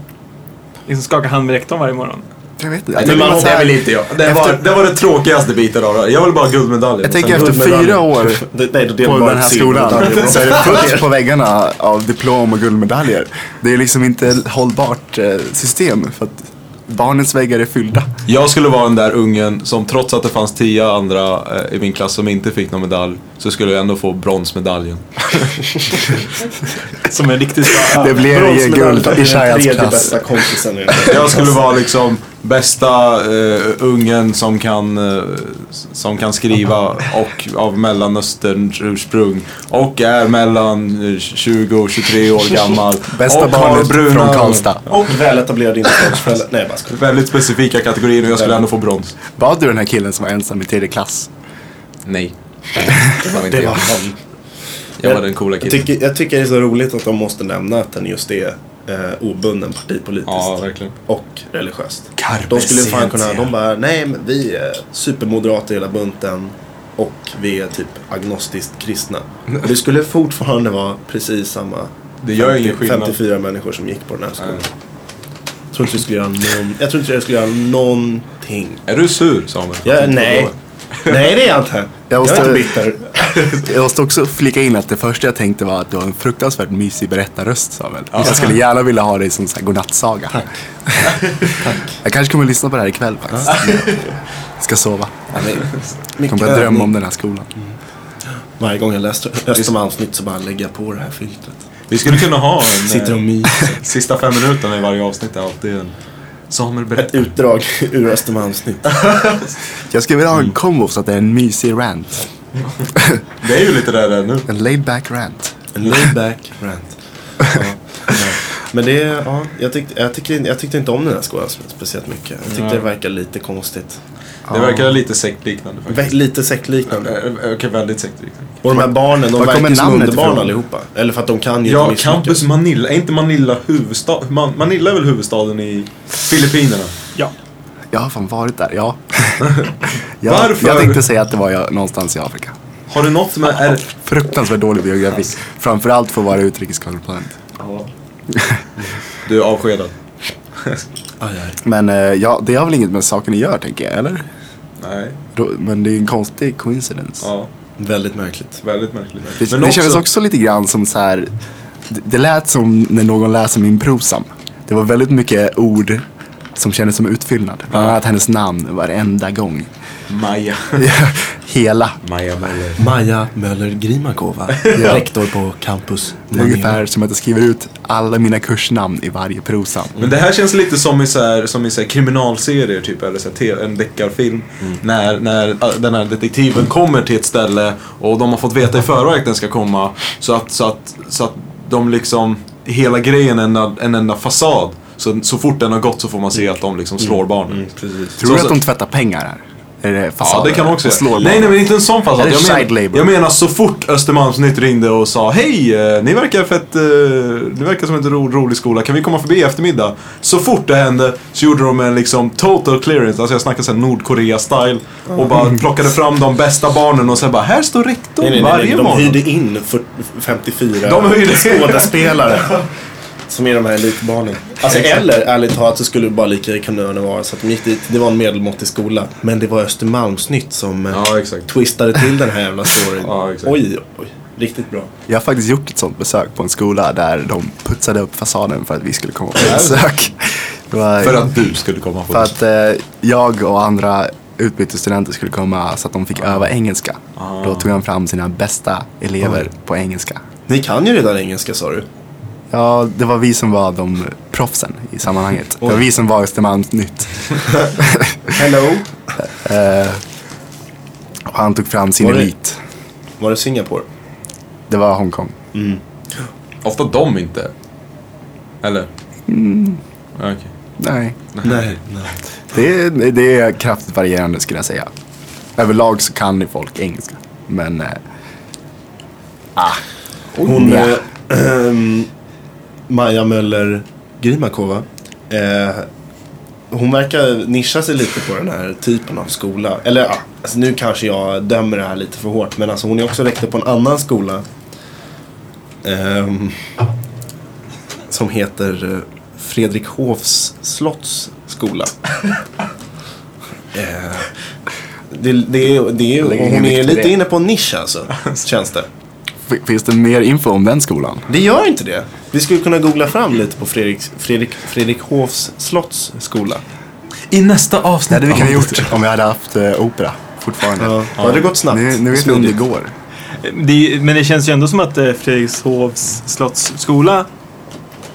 Speaker 3: Liksom skaka hand med rektorn varje morgon?
Speaker 5: Jag vet inte.
Speaker 2: Nej, men
Speaker 5: Jag tänker
Speaker 2: man-
Speaker 5: bara så här-
Speaker 2: det är väl inte jag. Det, var,
Speaker 5: Efter-
Speaker 2: det var det tråkigaste biten av det här. Jag vill bara ha guldmedaljen.
Speaker 5: Jag tänker
Speaker 2: Sen-
Speaker 5: efter
Speaker 4: Guldmedalj.
Speaker 5: fyra år
Speaker 4: Det- Nej, då delar
Speaker 5: på
Speaker 4: bara
Speaker 5: den här
Speaker 4: ett
Speaker 5: skolan
Speaker 4: silvermedalj.
Speaker 5: så är det fullt på väggarna av diplom och guldmedaljer. Det är liksom inte ett hållbart eh, system för att barnens väggar är fyllda.
Speaker 2: Jag skulle vara den där ungen som trots att det fanns tio andra eh, i min klass som inte fick någon medalj så skulle jag ändå få bronsmedaljen.
Speaker 3: Som är riktigt bra.
Speaker 5: Det blir ju
Speaker 4: Bronsmedalj
Speaker 5: guld
Speaker 4: för
Speaker 5: i
Speaker 4: den
Speaker 5: Shayans
Speaker 4: tredje
Speaker 5: klass.
Speaker 4: bästa kompisen. i-
Speaker 2: Jag skulle vara liksom bästa eh, ungen som kan, eh, som kan skriva och av mellanösterns ursprung och är mellan eh, 20 och 23 år gammal.
Speaker 5: Bästa
Speaker 2: och har
Speaker 5: barnet
Speaker 2: bruna
Speaker 5: från
Speaker 2: ögon.
Speaker 5: Karlstad.
Speaker 4: Och väletablerad innerstadsförälder. Nej, jag bara skojar.
Speaker 2: Väldigt specifika kategorier och jag skulle ändå få brons.
Speaker 5: Var du den här killen som var ensam i tredje klass?
Speaker 2: Nej. Det var inte
Speaker 4: Det var
Speaker 2: jag.
Speaker 4: han.
Speaker 2: Jag var den coola
Speaker 4: Jag
Speaker 2: killen.
Speaker 4: tycker, jag tycker det är så roligt att de måste nämna att den just är eh, obunden partipolitiskt.
Speaker 2: Ja, verkligen.
Speaker 4: Och religiöst.
Speaker 5: Carpe
Speaker 4: de skulle fan kunna,
Speaker 5: scientia.
Speaker 4: de bara, nej men vi är supermoderata i hela bunten. Och vi är typ agnostiskt kristna. Det skulle fortfarande vara precis samma
Speaker 2: Det gör ingen skillnad.
Speaker 4: 54 människor som gick på den här skolan. Jag tror inte vi skulle göra någon, jag tror inte jag skulle göra någonting.
Speaker 2: Är du sur Samuel?
Speaker 4: Jag, nej. nej, det är jag inte.
Speaker 5: Jag
Speaker 4: Jag,
Speaker 5: måste-
Speaker 4: är inte bitter.
Speaker 5: Jag måste också flika in att det första jag tänkte var att du har en fruktansvärt mysig berättarröst Samuel. Jag skulle gärna vilja ha dig som så här godnattsaga. Tack. Jag kanske kommer att lyssna på det här ikväll faktiskt. Ska sova. Jag
Speaker 4: Mycket
Speaker 5: kommer börja drömma
Speaker 4: övning.
Speaker 5: om den här skolan.
Speaker 4: Varje gång jag läser Östermalmsnytt så bara lägger jag på det här filtret.
Speaker 2: Vi skulle kunna ha en... eh,
Speaker 4: Sitter och myser.
Speaker 2: Sista fem minuterna i varje avsnitt är alltid en... Samuel
Speaker 4: Ett
Speaker 2: berättar.
Speaker 4: utdrag ur Östermalmsnytt.
Speaker 5: Jag skulle vilja ha en kombo så att det är en mysig rant.
Speaker 2: Det är ju lite där det är nu.
Speaker 5: En laid back rant.
Speaker 4: En laid-back rant. Ja, ja. Men det, ja, jag tyckte, jag, tyckte, jag tyckte inte om den här skolan speciellt mycket. Jag tyckte
Speaker 2: Nej.
Speaker 4: det verkade lite konstigt.
Speaker 2: Det verkar lite sektliknande
Speaker 4: Vä-
Speaker 2: faktiskt.
Speaker 4: Lite sektliknande.
Speaker 2: Eh, Okej, väldigt sektliknande.
Speaker 4: Och de här barnen, de
Speaker 5: Var kommer
Speaker 4: verkar som
Speaker 5: namnet
Speaker 4: underbarn
Speaker 5: ifrån?
Speaker 4: allihopa. Eller för att de kan ju inte
Speaker 2: Ja,
Speaker 4: misslyckas.
Speaker 2: Campus Manila. Är inte Manila huvudstad? Man, Manila är väl huvudstaden i Filippinerna?
Speaker 3: Ja.
Speaker 5: Jag har fan varit där, ja. jag,
Speaker 2: Varför?
Speaker 5: Jag tänkte säga att det var jag, någonstans i Afrika.
Speaker 2: Har du något med... Är,
Speaker 5: Fruktansvärt dålig biografi. Framförallt för att vara utrikeskorrespondent.
Speaker 2: du är avskedad.
Speaker 4: Aj, aj.
Speaker 5: Men eh, ja, det har väl inget med saken att göra tänker jag, eller?
Speaker 2: Nej.
Speaker 5: Då- Men det är en konstig coincidence.
Speaker 2: Ja,
Speaker 4: Väldigt märkligt.
Speaker 2: väldigt märkligt.
Speaker 5: Det, det kändes också lite grann som så här. Det, det lät som när någon läser min prosam. Det var väldigt mycket ord som kändes som utfyllnad. Bland annat hennes namn varenda gång.
Speaker 2: Maja.
Speaker 5: Hela.
Speaker 2: Maja Möller.
Speaker 4: Maja Möller Grimakova, rektor på Campus
Speaker 5: Det är ungefär som att jag skriver ut alla mina kursnamn i varje prosam.
Speaker 2: Men det här känns lite som i, så här, som i så här kriminalserier typ, eller så här, te- en deckarfilm. När, när äh, den här detektiven kommer till ett ställe och de har fått veta i förväg att den ska komma. Så att, så att, så att de liksom, hela grejen är en, enda- en enda fasad. Så, så fort den har gått så får man se att de liksom slår barnen.
Speaker 4: precis.
Speaker 5: Tror du
Speaker 2: Så-
Speaker 5: att de tvättar pengar här? Är det
Speaker 2: Ja,
Speaker 5: fasader?
Speaker 2: det kan man också
Speaker 5: Och slår
Speaker 2: göra. Nej, nej, men inte en sån fasad.
Speaker 5: Är det
Speaker 2: Jag,
Speaker 5: side
Speaker 2: men,
Speaker 5: label?
Speaker 2: jag menar så fort Östermalmsnytt ringde och sa Hej, eh, ni verkar fett, eh, ni verkar som en ro, rolig skola. Kan vi komma förbi i eftermiddag? Så fort det hände så gjorde de en liksom total clearance. Alltså jag snackar såhär Nordkorea-style. Och
Speaker 5: Mm.
Speaker 2: bara plockade fram de bästa barnen och sen bara, här står rektorn
Speaker 4: Nej, nej, nej,
Speaker 2: varje
Speaker 4: nej, de
Speaker 2: morgon.
Speaker 4: hyrde in för- 54
Speaker 2: De hyrde in.
Speaker 4: skådespelare. Som är de här elitbarnen. Alltså, eller ärligt talat så skulle det bara lika kunna vara så att de gick dit. Det var en medelmåttig skola. Men det var Östermalmsnytt som eh,
Speaker 2: Ja, exakt.
Speaker 4: twistade till den här jävla storyn.
Speaker 2: Ja, exakt.
Speaker 4: oj, oj. Riktigt bra.
Speaker 5: Jag har faktiskt gjort ett sånt besök på en skola där de putsade upp fasaden för att vi skulle komma på besök. Det var-
Speaker 2: För att du skulle komma på
Speaker 5: För att eh, jag och andra utbytesstudenter skulle komma så att de fick öva engelska.
Speaker 4: Ah.
Speaker 5: Då tog han fram sina bästa elever på engelska.
Speaker 4: Ni kan ju redan engelska sa du.
Speaker 5: Ja, det var vi som var de proffsen i sammanhanget. Det var vi som var Östermalmsnytt.
Speaker 4: Hello.
Speaker 5: Och han tog fram sin
Speaker 4: Var det-
Speaker 5: elit.
Speaker 4: Var det Singapore?
Speaker 5: Det var Hongkong.
Speaker 2: Ofta de inte. Eller?
Speaker 5: Mm.
Speaker 2: Okej.
Speaker 5: Nej,
Speaker 4: Nej.
Speaker 5: det är, det är kraftigt varierande skulle jag säga. Överlag så kan ju folk engelska. Men eh,
Speaker 4: Hon,
Speaker 5: Ja.
Speaker 4: eh, ehm, Maja Möller Grimakova. Eh, hon verkar nischa sig lite på den här typen av skola. Eller ja, alltså, nu kanske jag dömer det här lite för hårt. Men alltså, hon är också rektor på en annan skola. ehm, som heter eh, Fredrik Hofs slotts skola. Eh, det, det, är- det, är-
Speaker 5: Lägger
Speaker 4: hon
Speaker 5: ingen
Speaker 4: är
Speaker 5: vikt vid
Speaker 4: lite
Speaker 5: det.
Speaker 4: inne på en nisch alltså, känns det.
Speaker 5: F- finns det mer info om den skolan?
Speaker 4: Det gör inte det. Vi skulle kunna googla fram lite på Fredrik, Fredrik, Fredrik Hofs slotts skola.
Speaker 2: I nästa avsnitt.
Speaker 5: Det hade vi kunnat gjort om jag hade haft eh, opera fortfarande.
Speaker 4: Ja. Då hade det gått snabbt.
Speaker 5: Nu, nu vet vi om det går.
Speaker 3: Det, är- men det känns ju ändå som att eh, Fredrikshovs slottsskola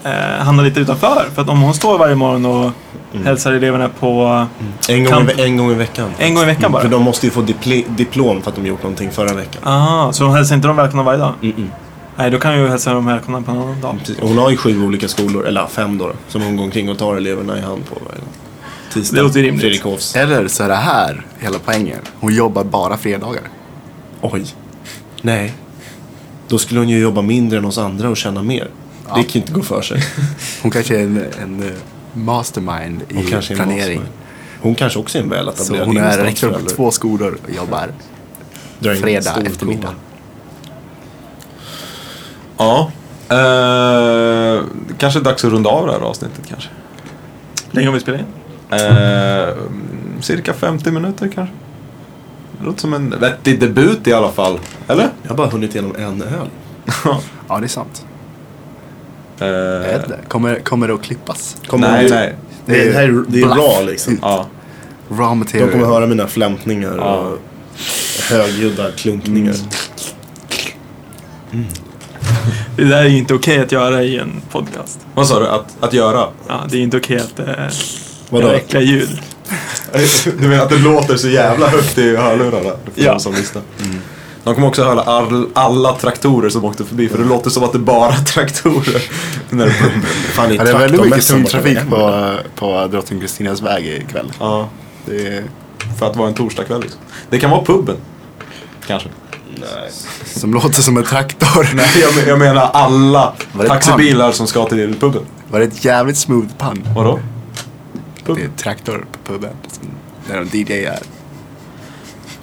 Speaker 3: eh, hamnar lite utanför. För att om hon står varje morgon och
Speaker 4: Mm.
Speaker 3: hälsar eleverna på
Speaker 4: En gång, i,
Speaker 3: Kan-
Speaker 4: ve- en gång i veckan.
Speaker 3: en gång i veckan
Speaker 4: Mm. För
Speaker 3: bara.
Speaker 4: de måste ju få dipl- diplom för att de gjort någonting förra veckan.
Speaker 3: Ah, så hon hälsar inte dem välkomna varje dag?
Speaker 4: Mm-mm.
Speaker 3: Nej, då kan jag ju hälsa dem välkomna på en annan dag.
Speaker 4: Mm, Precis. Hon har ju sju olika skolor, eller ja, fem då, som hon går omkring och tar eleverna i hand på varje gång. Tisdag.
Speaker 3: Det låter rimligt.
Speaker 4: Fredrik Hofs.
Speaker 5: Eller så är det här hela poängen. Hon jobbar bara fredagar.
Speaker 4: Oj. Nej. Då skulle hon ju jobba mindre än oss andra och tjäna mer. Det kan ju inte gå för sig.
Speaker 5: Hon kanske är en, en eh, mastermind i
Speaker 4: Hon kanske är en
Speaker 5: planering.
Speaker 4: mastermind. Hon kanske också är en
Speaker 5: Så
Speaker 4: väletablerad
Speaker 5: hon är
Speaker 4: ingenstans,
Speaker 5: rektor på
Speaker 4: eller?
Speaker 5: två skolor och jobbar
Speaker 4: Drar in
Speaker 5: fredag
Speaker 4: storkovan.
Speaker 5: eftermiddag.
Speaker 2: Ja. Eh, kanske dags att runda av det här avsnittet kanske.
Speaker 3: Länge har vi spelat in?
Speaker 2: Eh, cirka 50 minuter kanske. Det låter som en vettig debut i alla fall. Eller?
Speaker 4: Jag har bara hunnit igenom en öl.
Speaker 5: Ja, det är sant. Jag
Speaker 2: Eh,
Speaker 5: vet inte. Kommer, kommer det att klippas?
Speaker 4: Kommer
Speaker 2: nej,
Speaker 4: de-
Speaker 2: nej.
Speaker 4: Det, är- det, här, är- det är
Speaker 5: Bluff.
Speaker 4: raw liksom.
Speaker 2: Ja.
Speaker 5: Raw
Speaker 4: De
Speaker 5: material.
Speaker 4: kommer höra mina flämtningar
Speaker 2: Ja.
Speaker 4: och högljudda klunkningar.
Speaker 3: Det där är ju inte okej att göra i en podcast.
Speaker 2: Vad sa du? Att, att göra?
Speaker 3: Ja, det är inte okej att eh,
Speaker 4: Vadå?
Speaker 3: göra äckliga ljud.
Speaker 2: Du menar att det låter så jävla högt i hörlurarna? För
Speaker 3: Ja.
Speaker 2: de som lyssnar. De kommer också höra all, alla traktorer som åkte förbi för det låter som att det är bara traktorer. När det brum, brum, brum.
Speaker 4: Fan, det
Speaker 5: Ja, det är väldigt mycket
Speaker 4: traktormässan
Speaker 5: tung
Speaker 4: borta
Speaker 5: trafik
Speaker 4: vid Emma.
Speaker 5: på, på Drottning Kristinas väg ikväll.
Speaker 2: ja,
Speaker 5: Det är,
Speaker 2: för att vara en torsdagkväll liksom. Det kan vara puben. Kanske.
Speaker 4: Nej.
Speaker 5: som låter som en traktor.
Speaker 2: Nej, jag, men- jag menar alla
Speaker 5: Var det
Speaker 2: taxibilar som ska till puben.
Speaker 5: Var det ett jävligt smooth pann?
Speaker 2: Vadå?
Speaker 5: Det är traktor på puben. Som, när de DJar.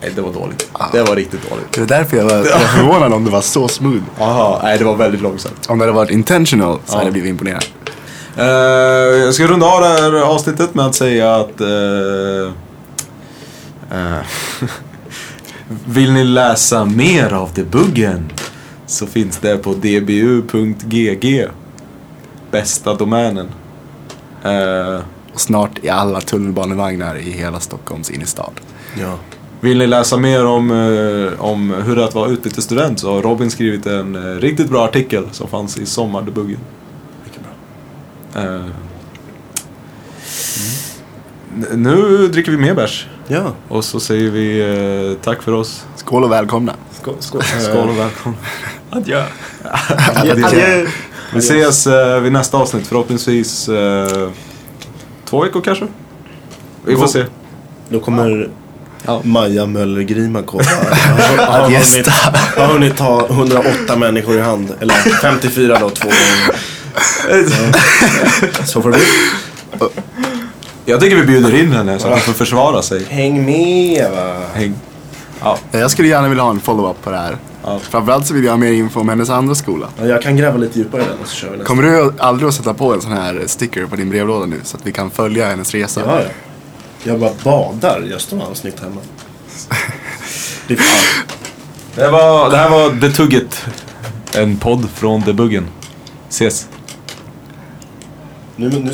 Speaker 2: Nej, det var dåligt. Det var riktigt dåligt.
Speaker 5: Det var därför jag var, jag var förvånad om det var så smooth.
Speaker 2: Jaha, nej det var väldigt långsamt.
Speaker 5: Om det hade varit intentional så
Speaker 2: Ja.
Speaker 5: hade jag blivit imponerad.
Speaker 2: Eh, jag ska runda av det här avsnittet med att säga att... eh, eh, vill ni läsa mer av debuggen så finns det på dbu.gg. Bästa domänen. Eh,
Speaker 5: Och snart i alla tunnelbanevagnar i hela Stockholms innerstad.
Speaker 4: Ja.
Speaker 2: vill ni läsa mer om, eh, om hur det är att vara utbytesstudent så har Robin skrivit en eh, riktigt bra artikel som fanns i sommardebuggen.
Speaker 4: Mycket bra.
Speaker 2: Eh, n- Nu dricker vi mer bärs.
Speaker 4: Ja.
Speaker 2: Och så säger vi eh, tack för oss.
Speaker 5: Skål och välkomna.
Speaker 4: Skål. skål.
Speaker 2: Skål och välkomna.
Speaker 3: Adjö.
Speaker 4: Adjö. Adjö.
Speaker 2: Vi ses eh, vid nästa avsnitt förhoppningsvis eh, två veckor kanske. Vi får
Speaker 5: Cool.
Speaker 2: se.
Speaker 4: Då kommer
Speaker 2: Ja.
Speaker 4: Maja Möller Grima komma. Har- har
Speaker 5: Att
Speaker 4: hunnit-
Speaker 5: gästa.
Speaker 4: Har hunnit ta 108 människor i hand. Eller 54 då, två gånger. Så får det bli.
Speaker 2: Jag tycker vi bjuder in henne så att hon får försvara sig.
Speaker 4: Häng med va.
Speaker 2: Häng.
Speaker 5: Jag skulle gärna vilja ha en follow-up på det här.
Speaker 2: Ja.
Speaker 5: Framförallt så vill jag ha mer info om hennes andra skola.
Speaker 4: Ja, Jag kan gräva lite djupare i den och så kör vi nästa.
Speaker 5: Kommer du aldrig att sätta på en sån här sticker på din brevlåda nu så att vi kan följa hennes resa?
Speaker 4: Ja, ja. Jag bara badar Gösta och snyggt hemma. Det är fan.
Speaker 2: Det, var, det här var The Tugget. En podd från Debuggen. Ses.
Speaker 4: Nu, nu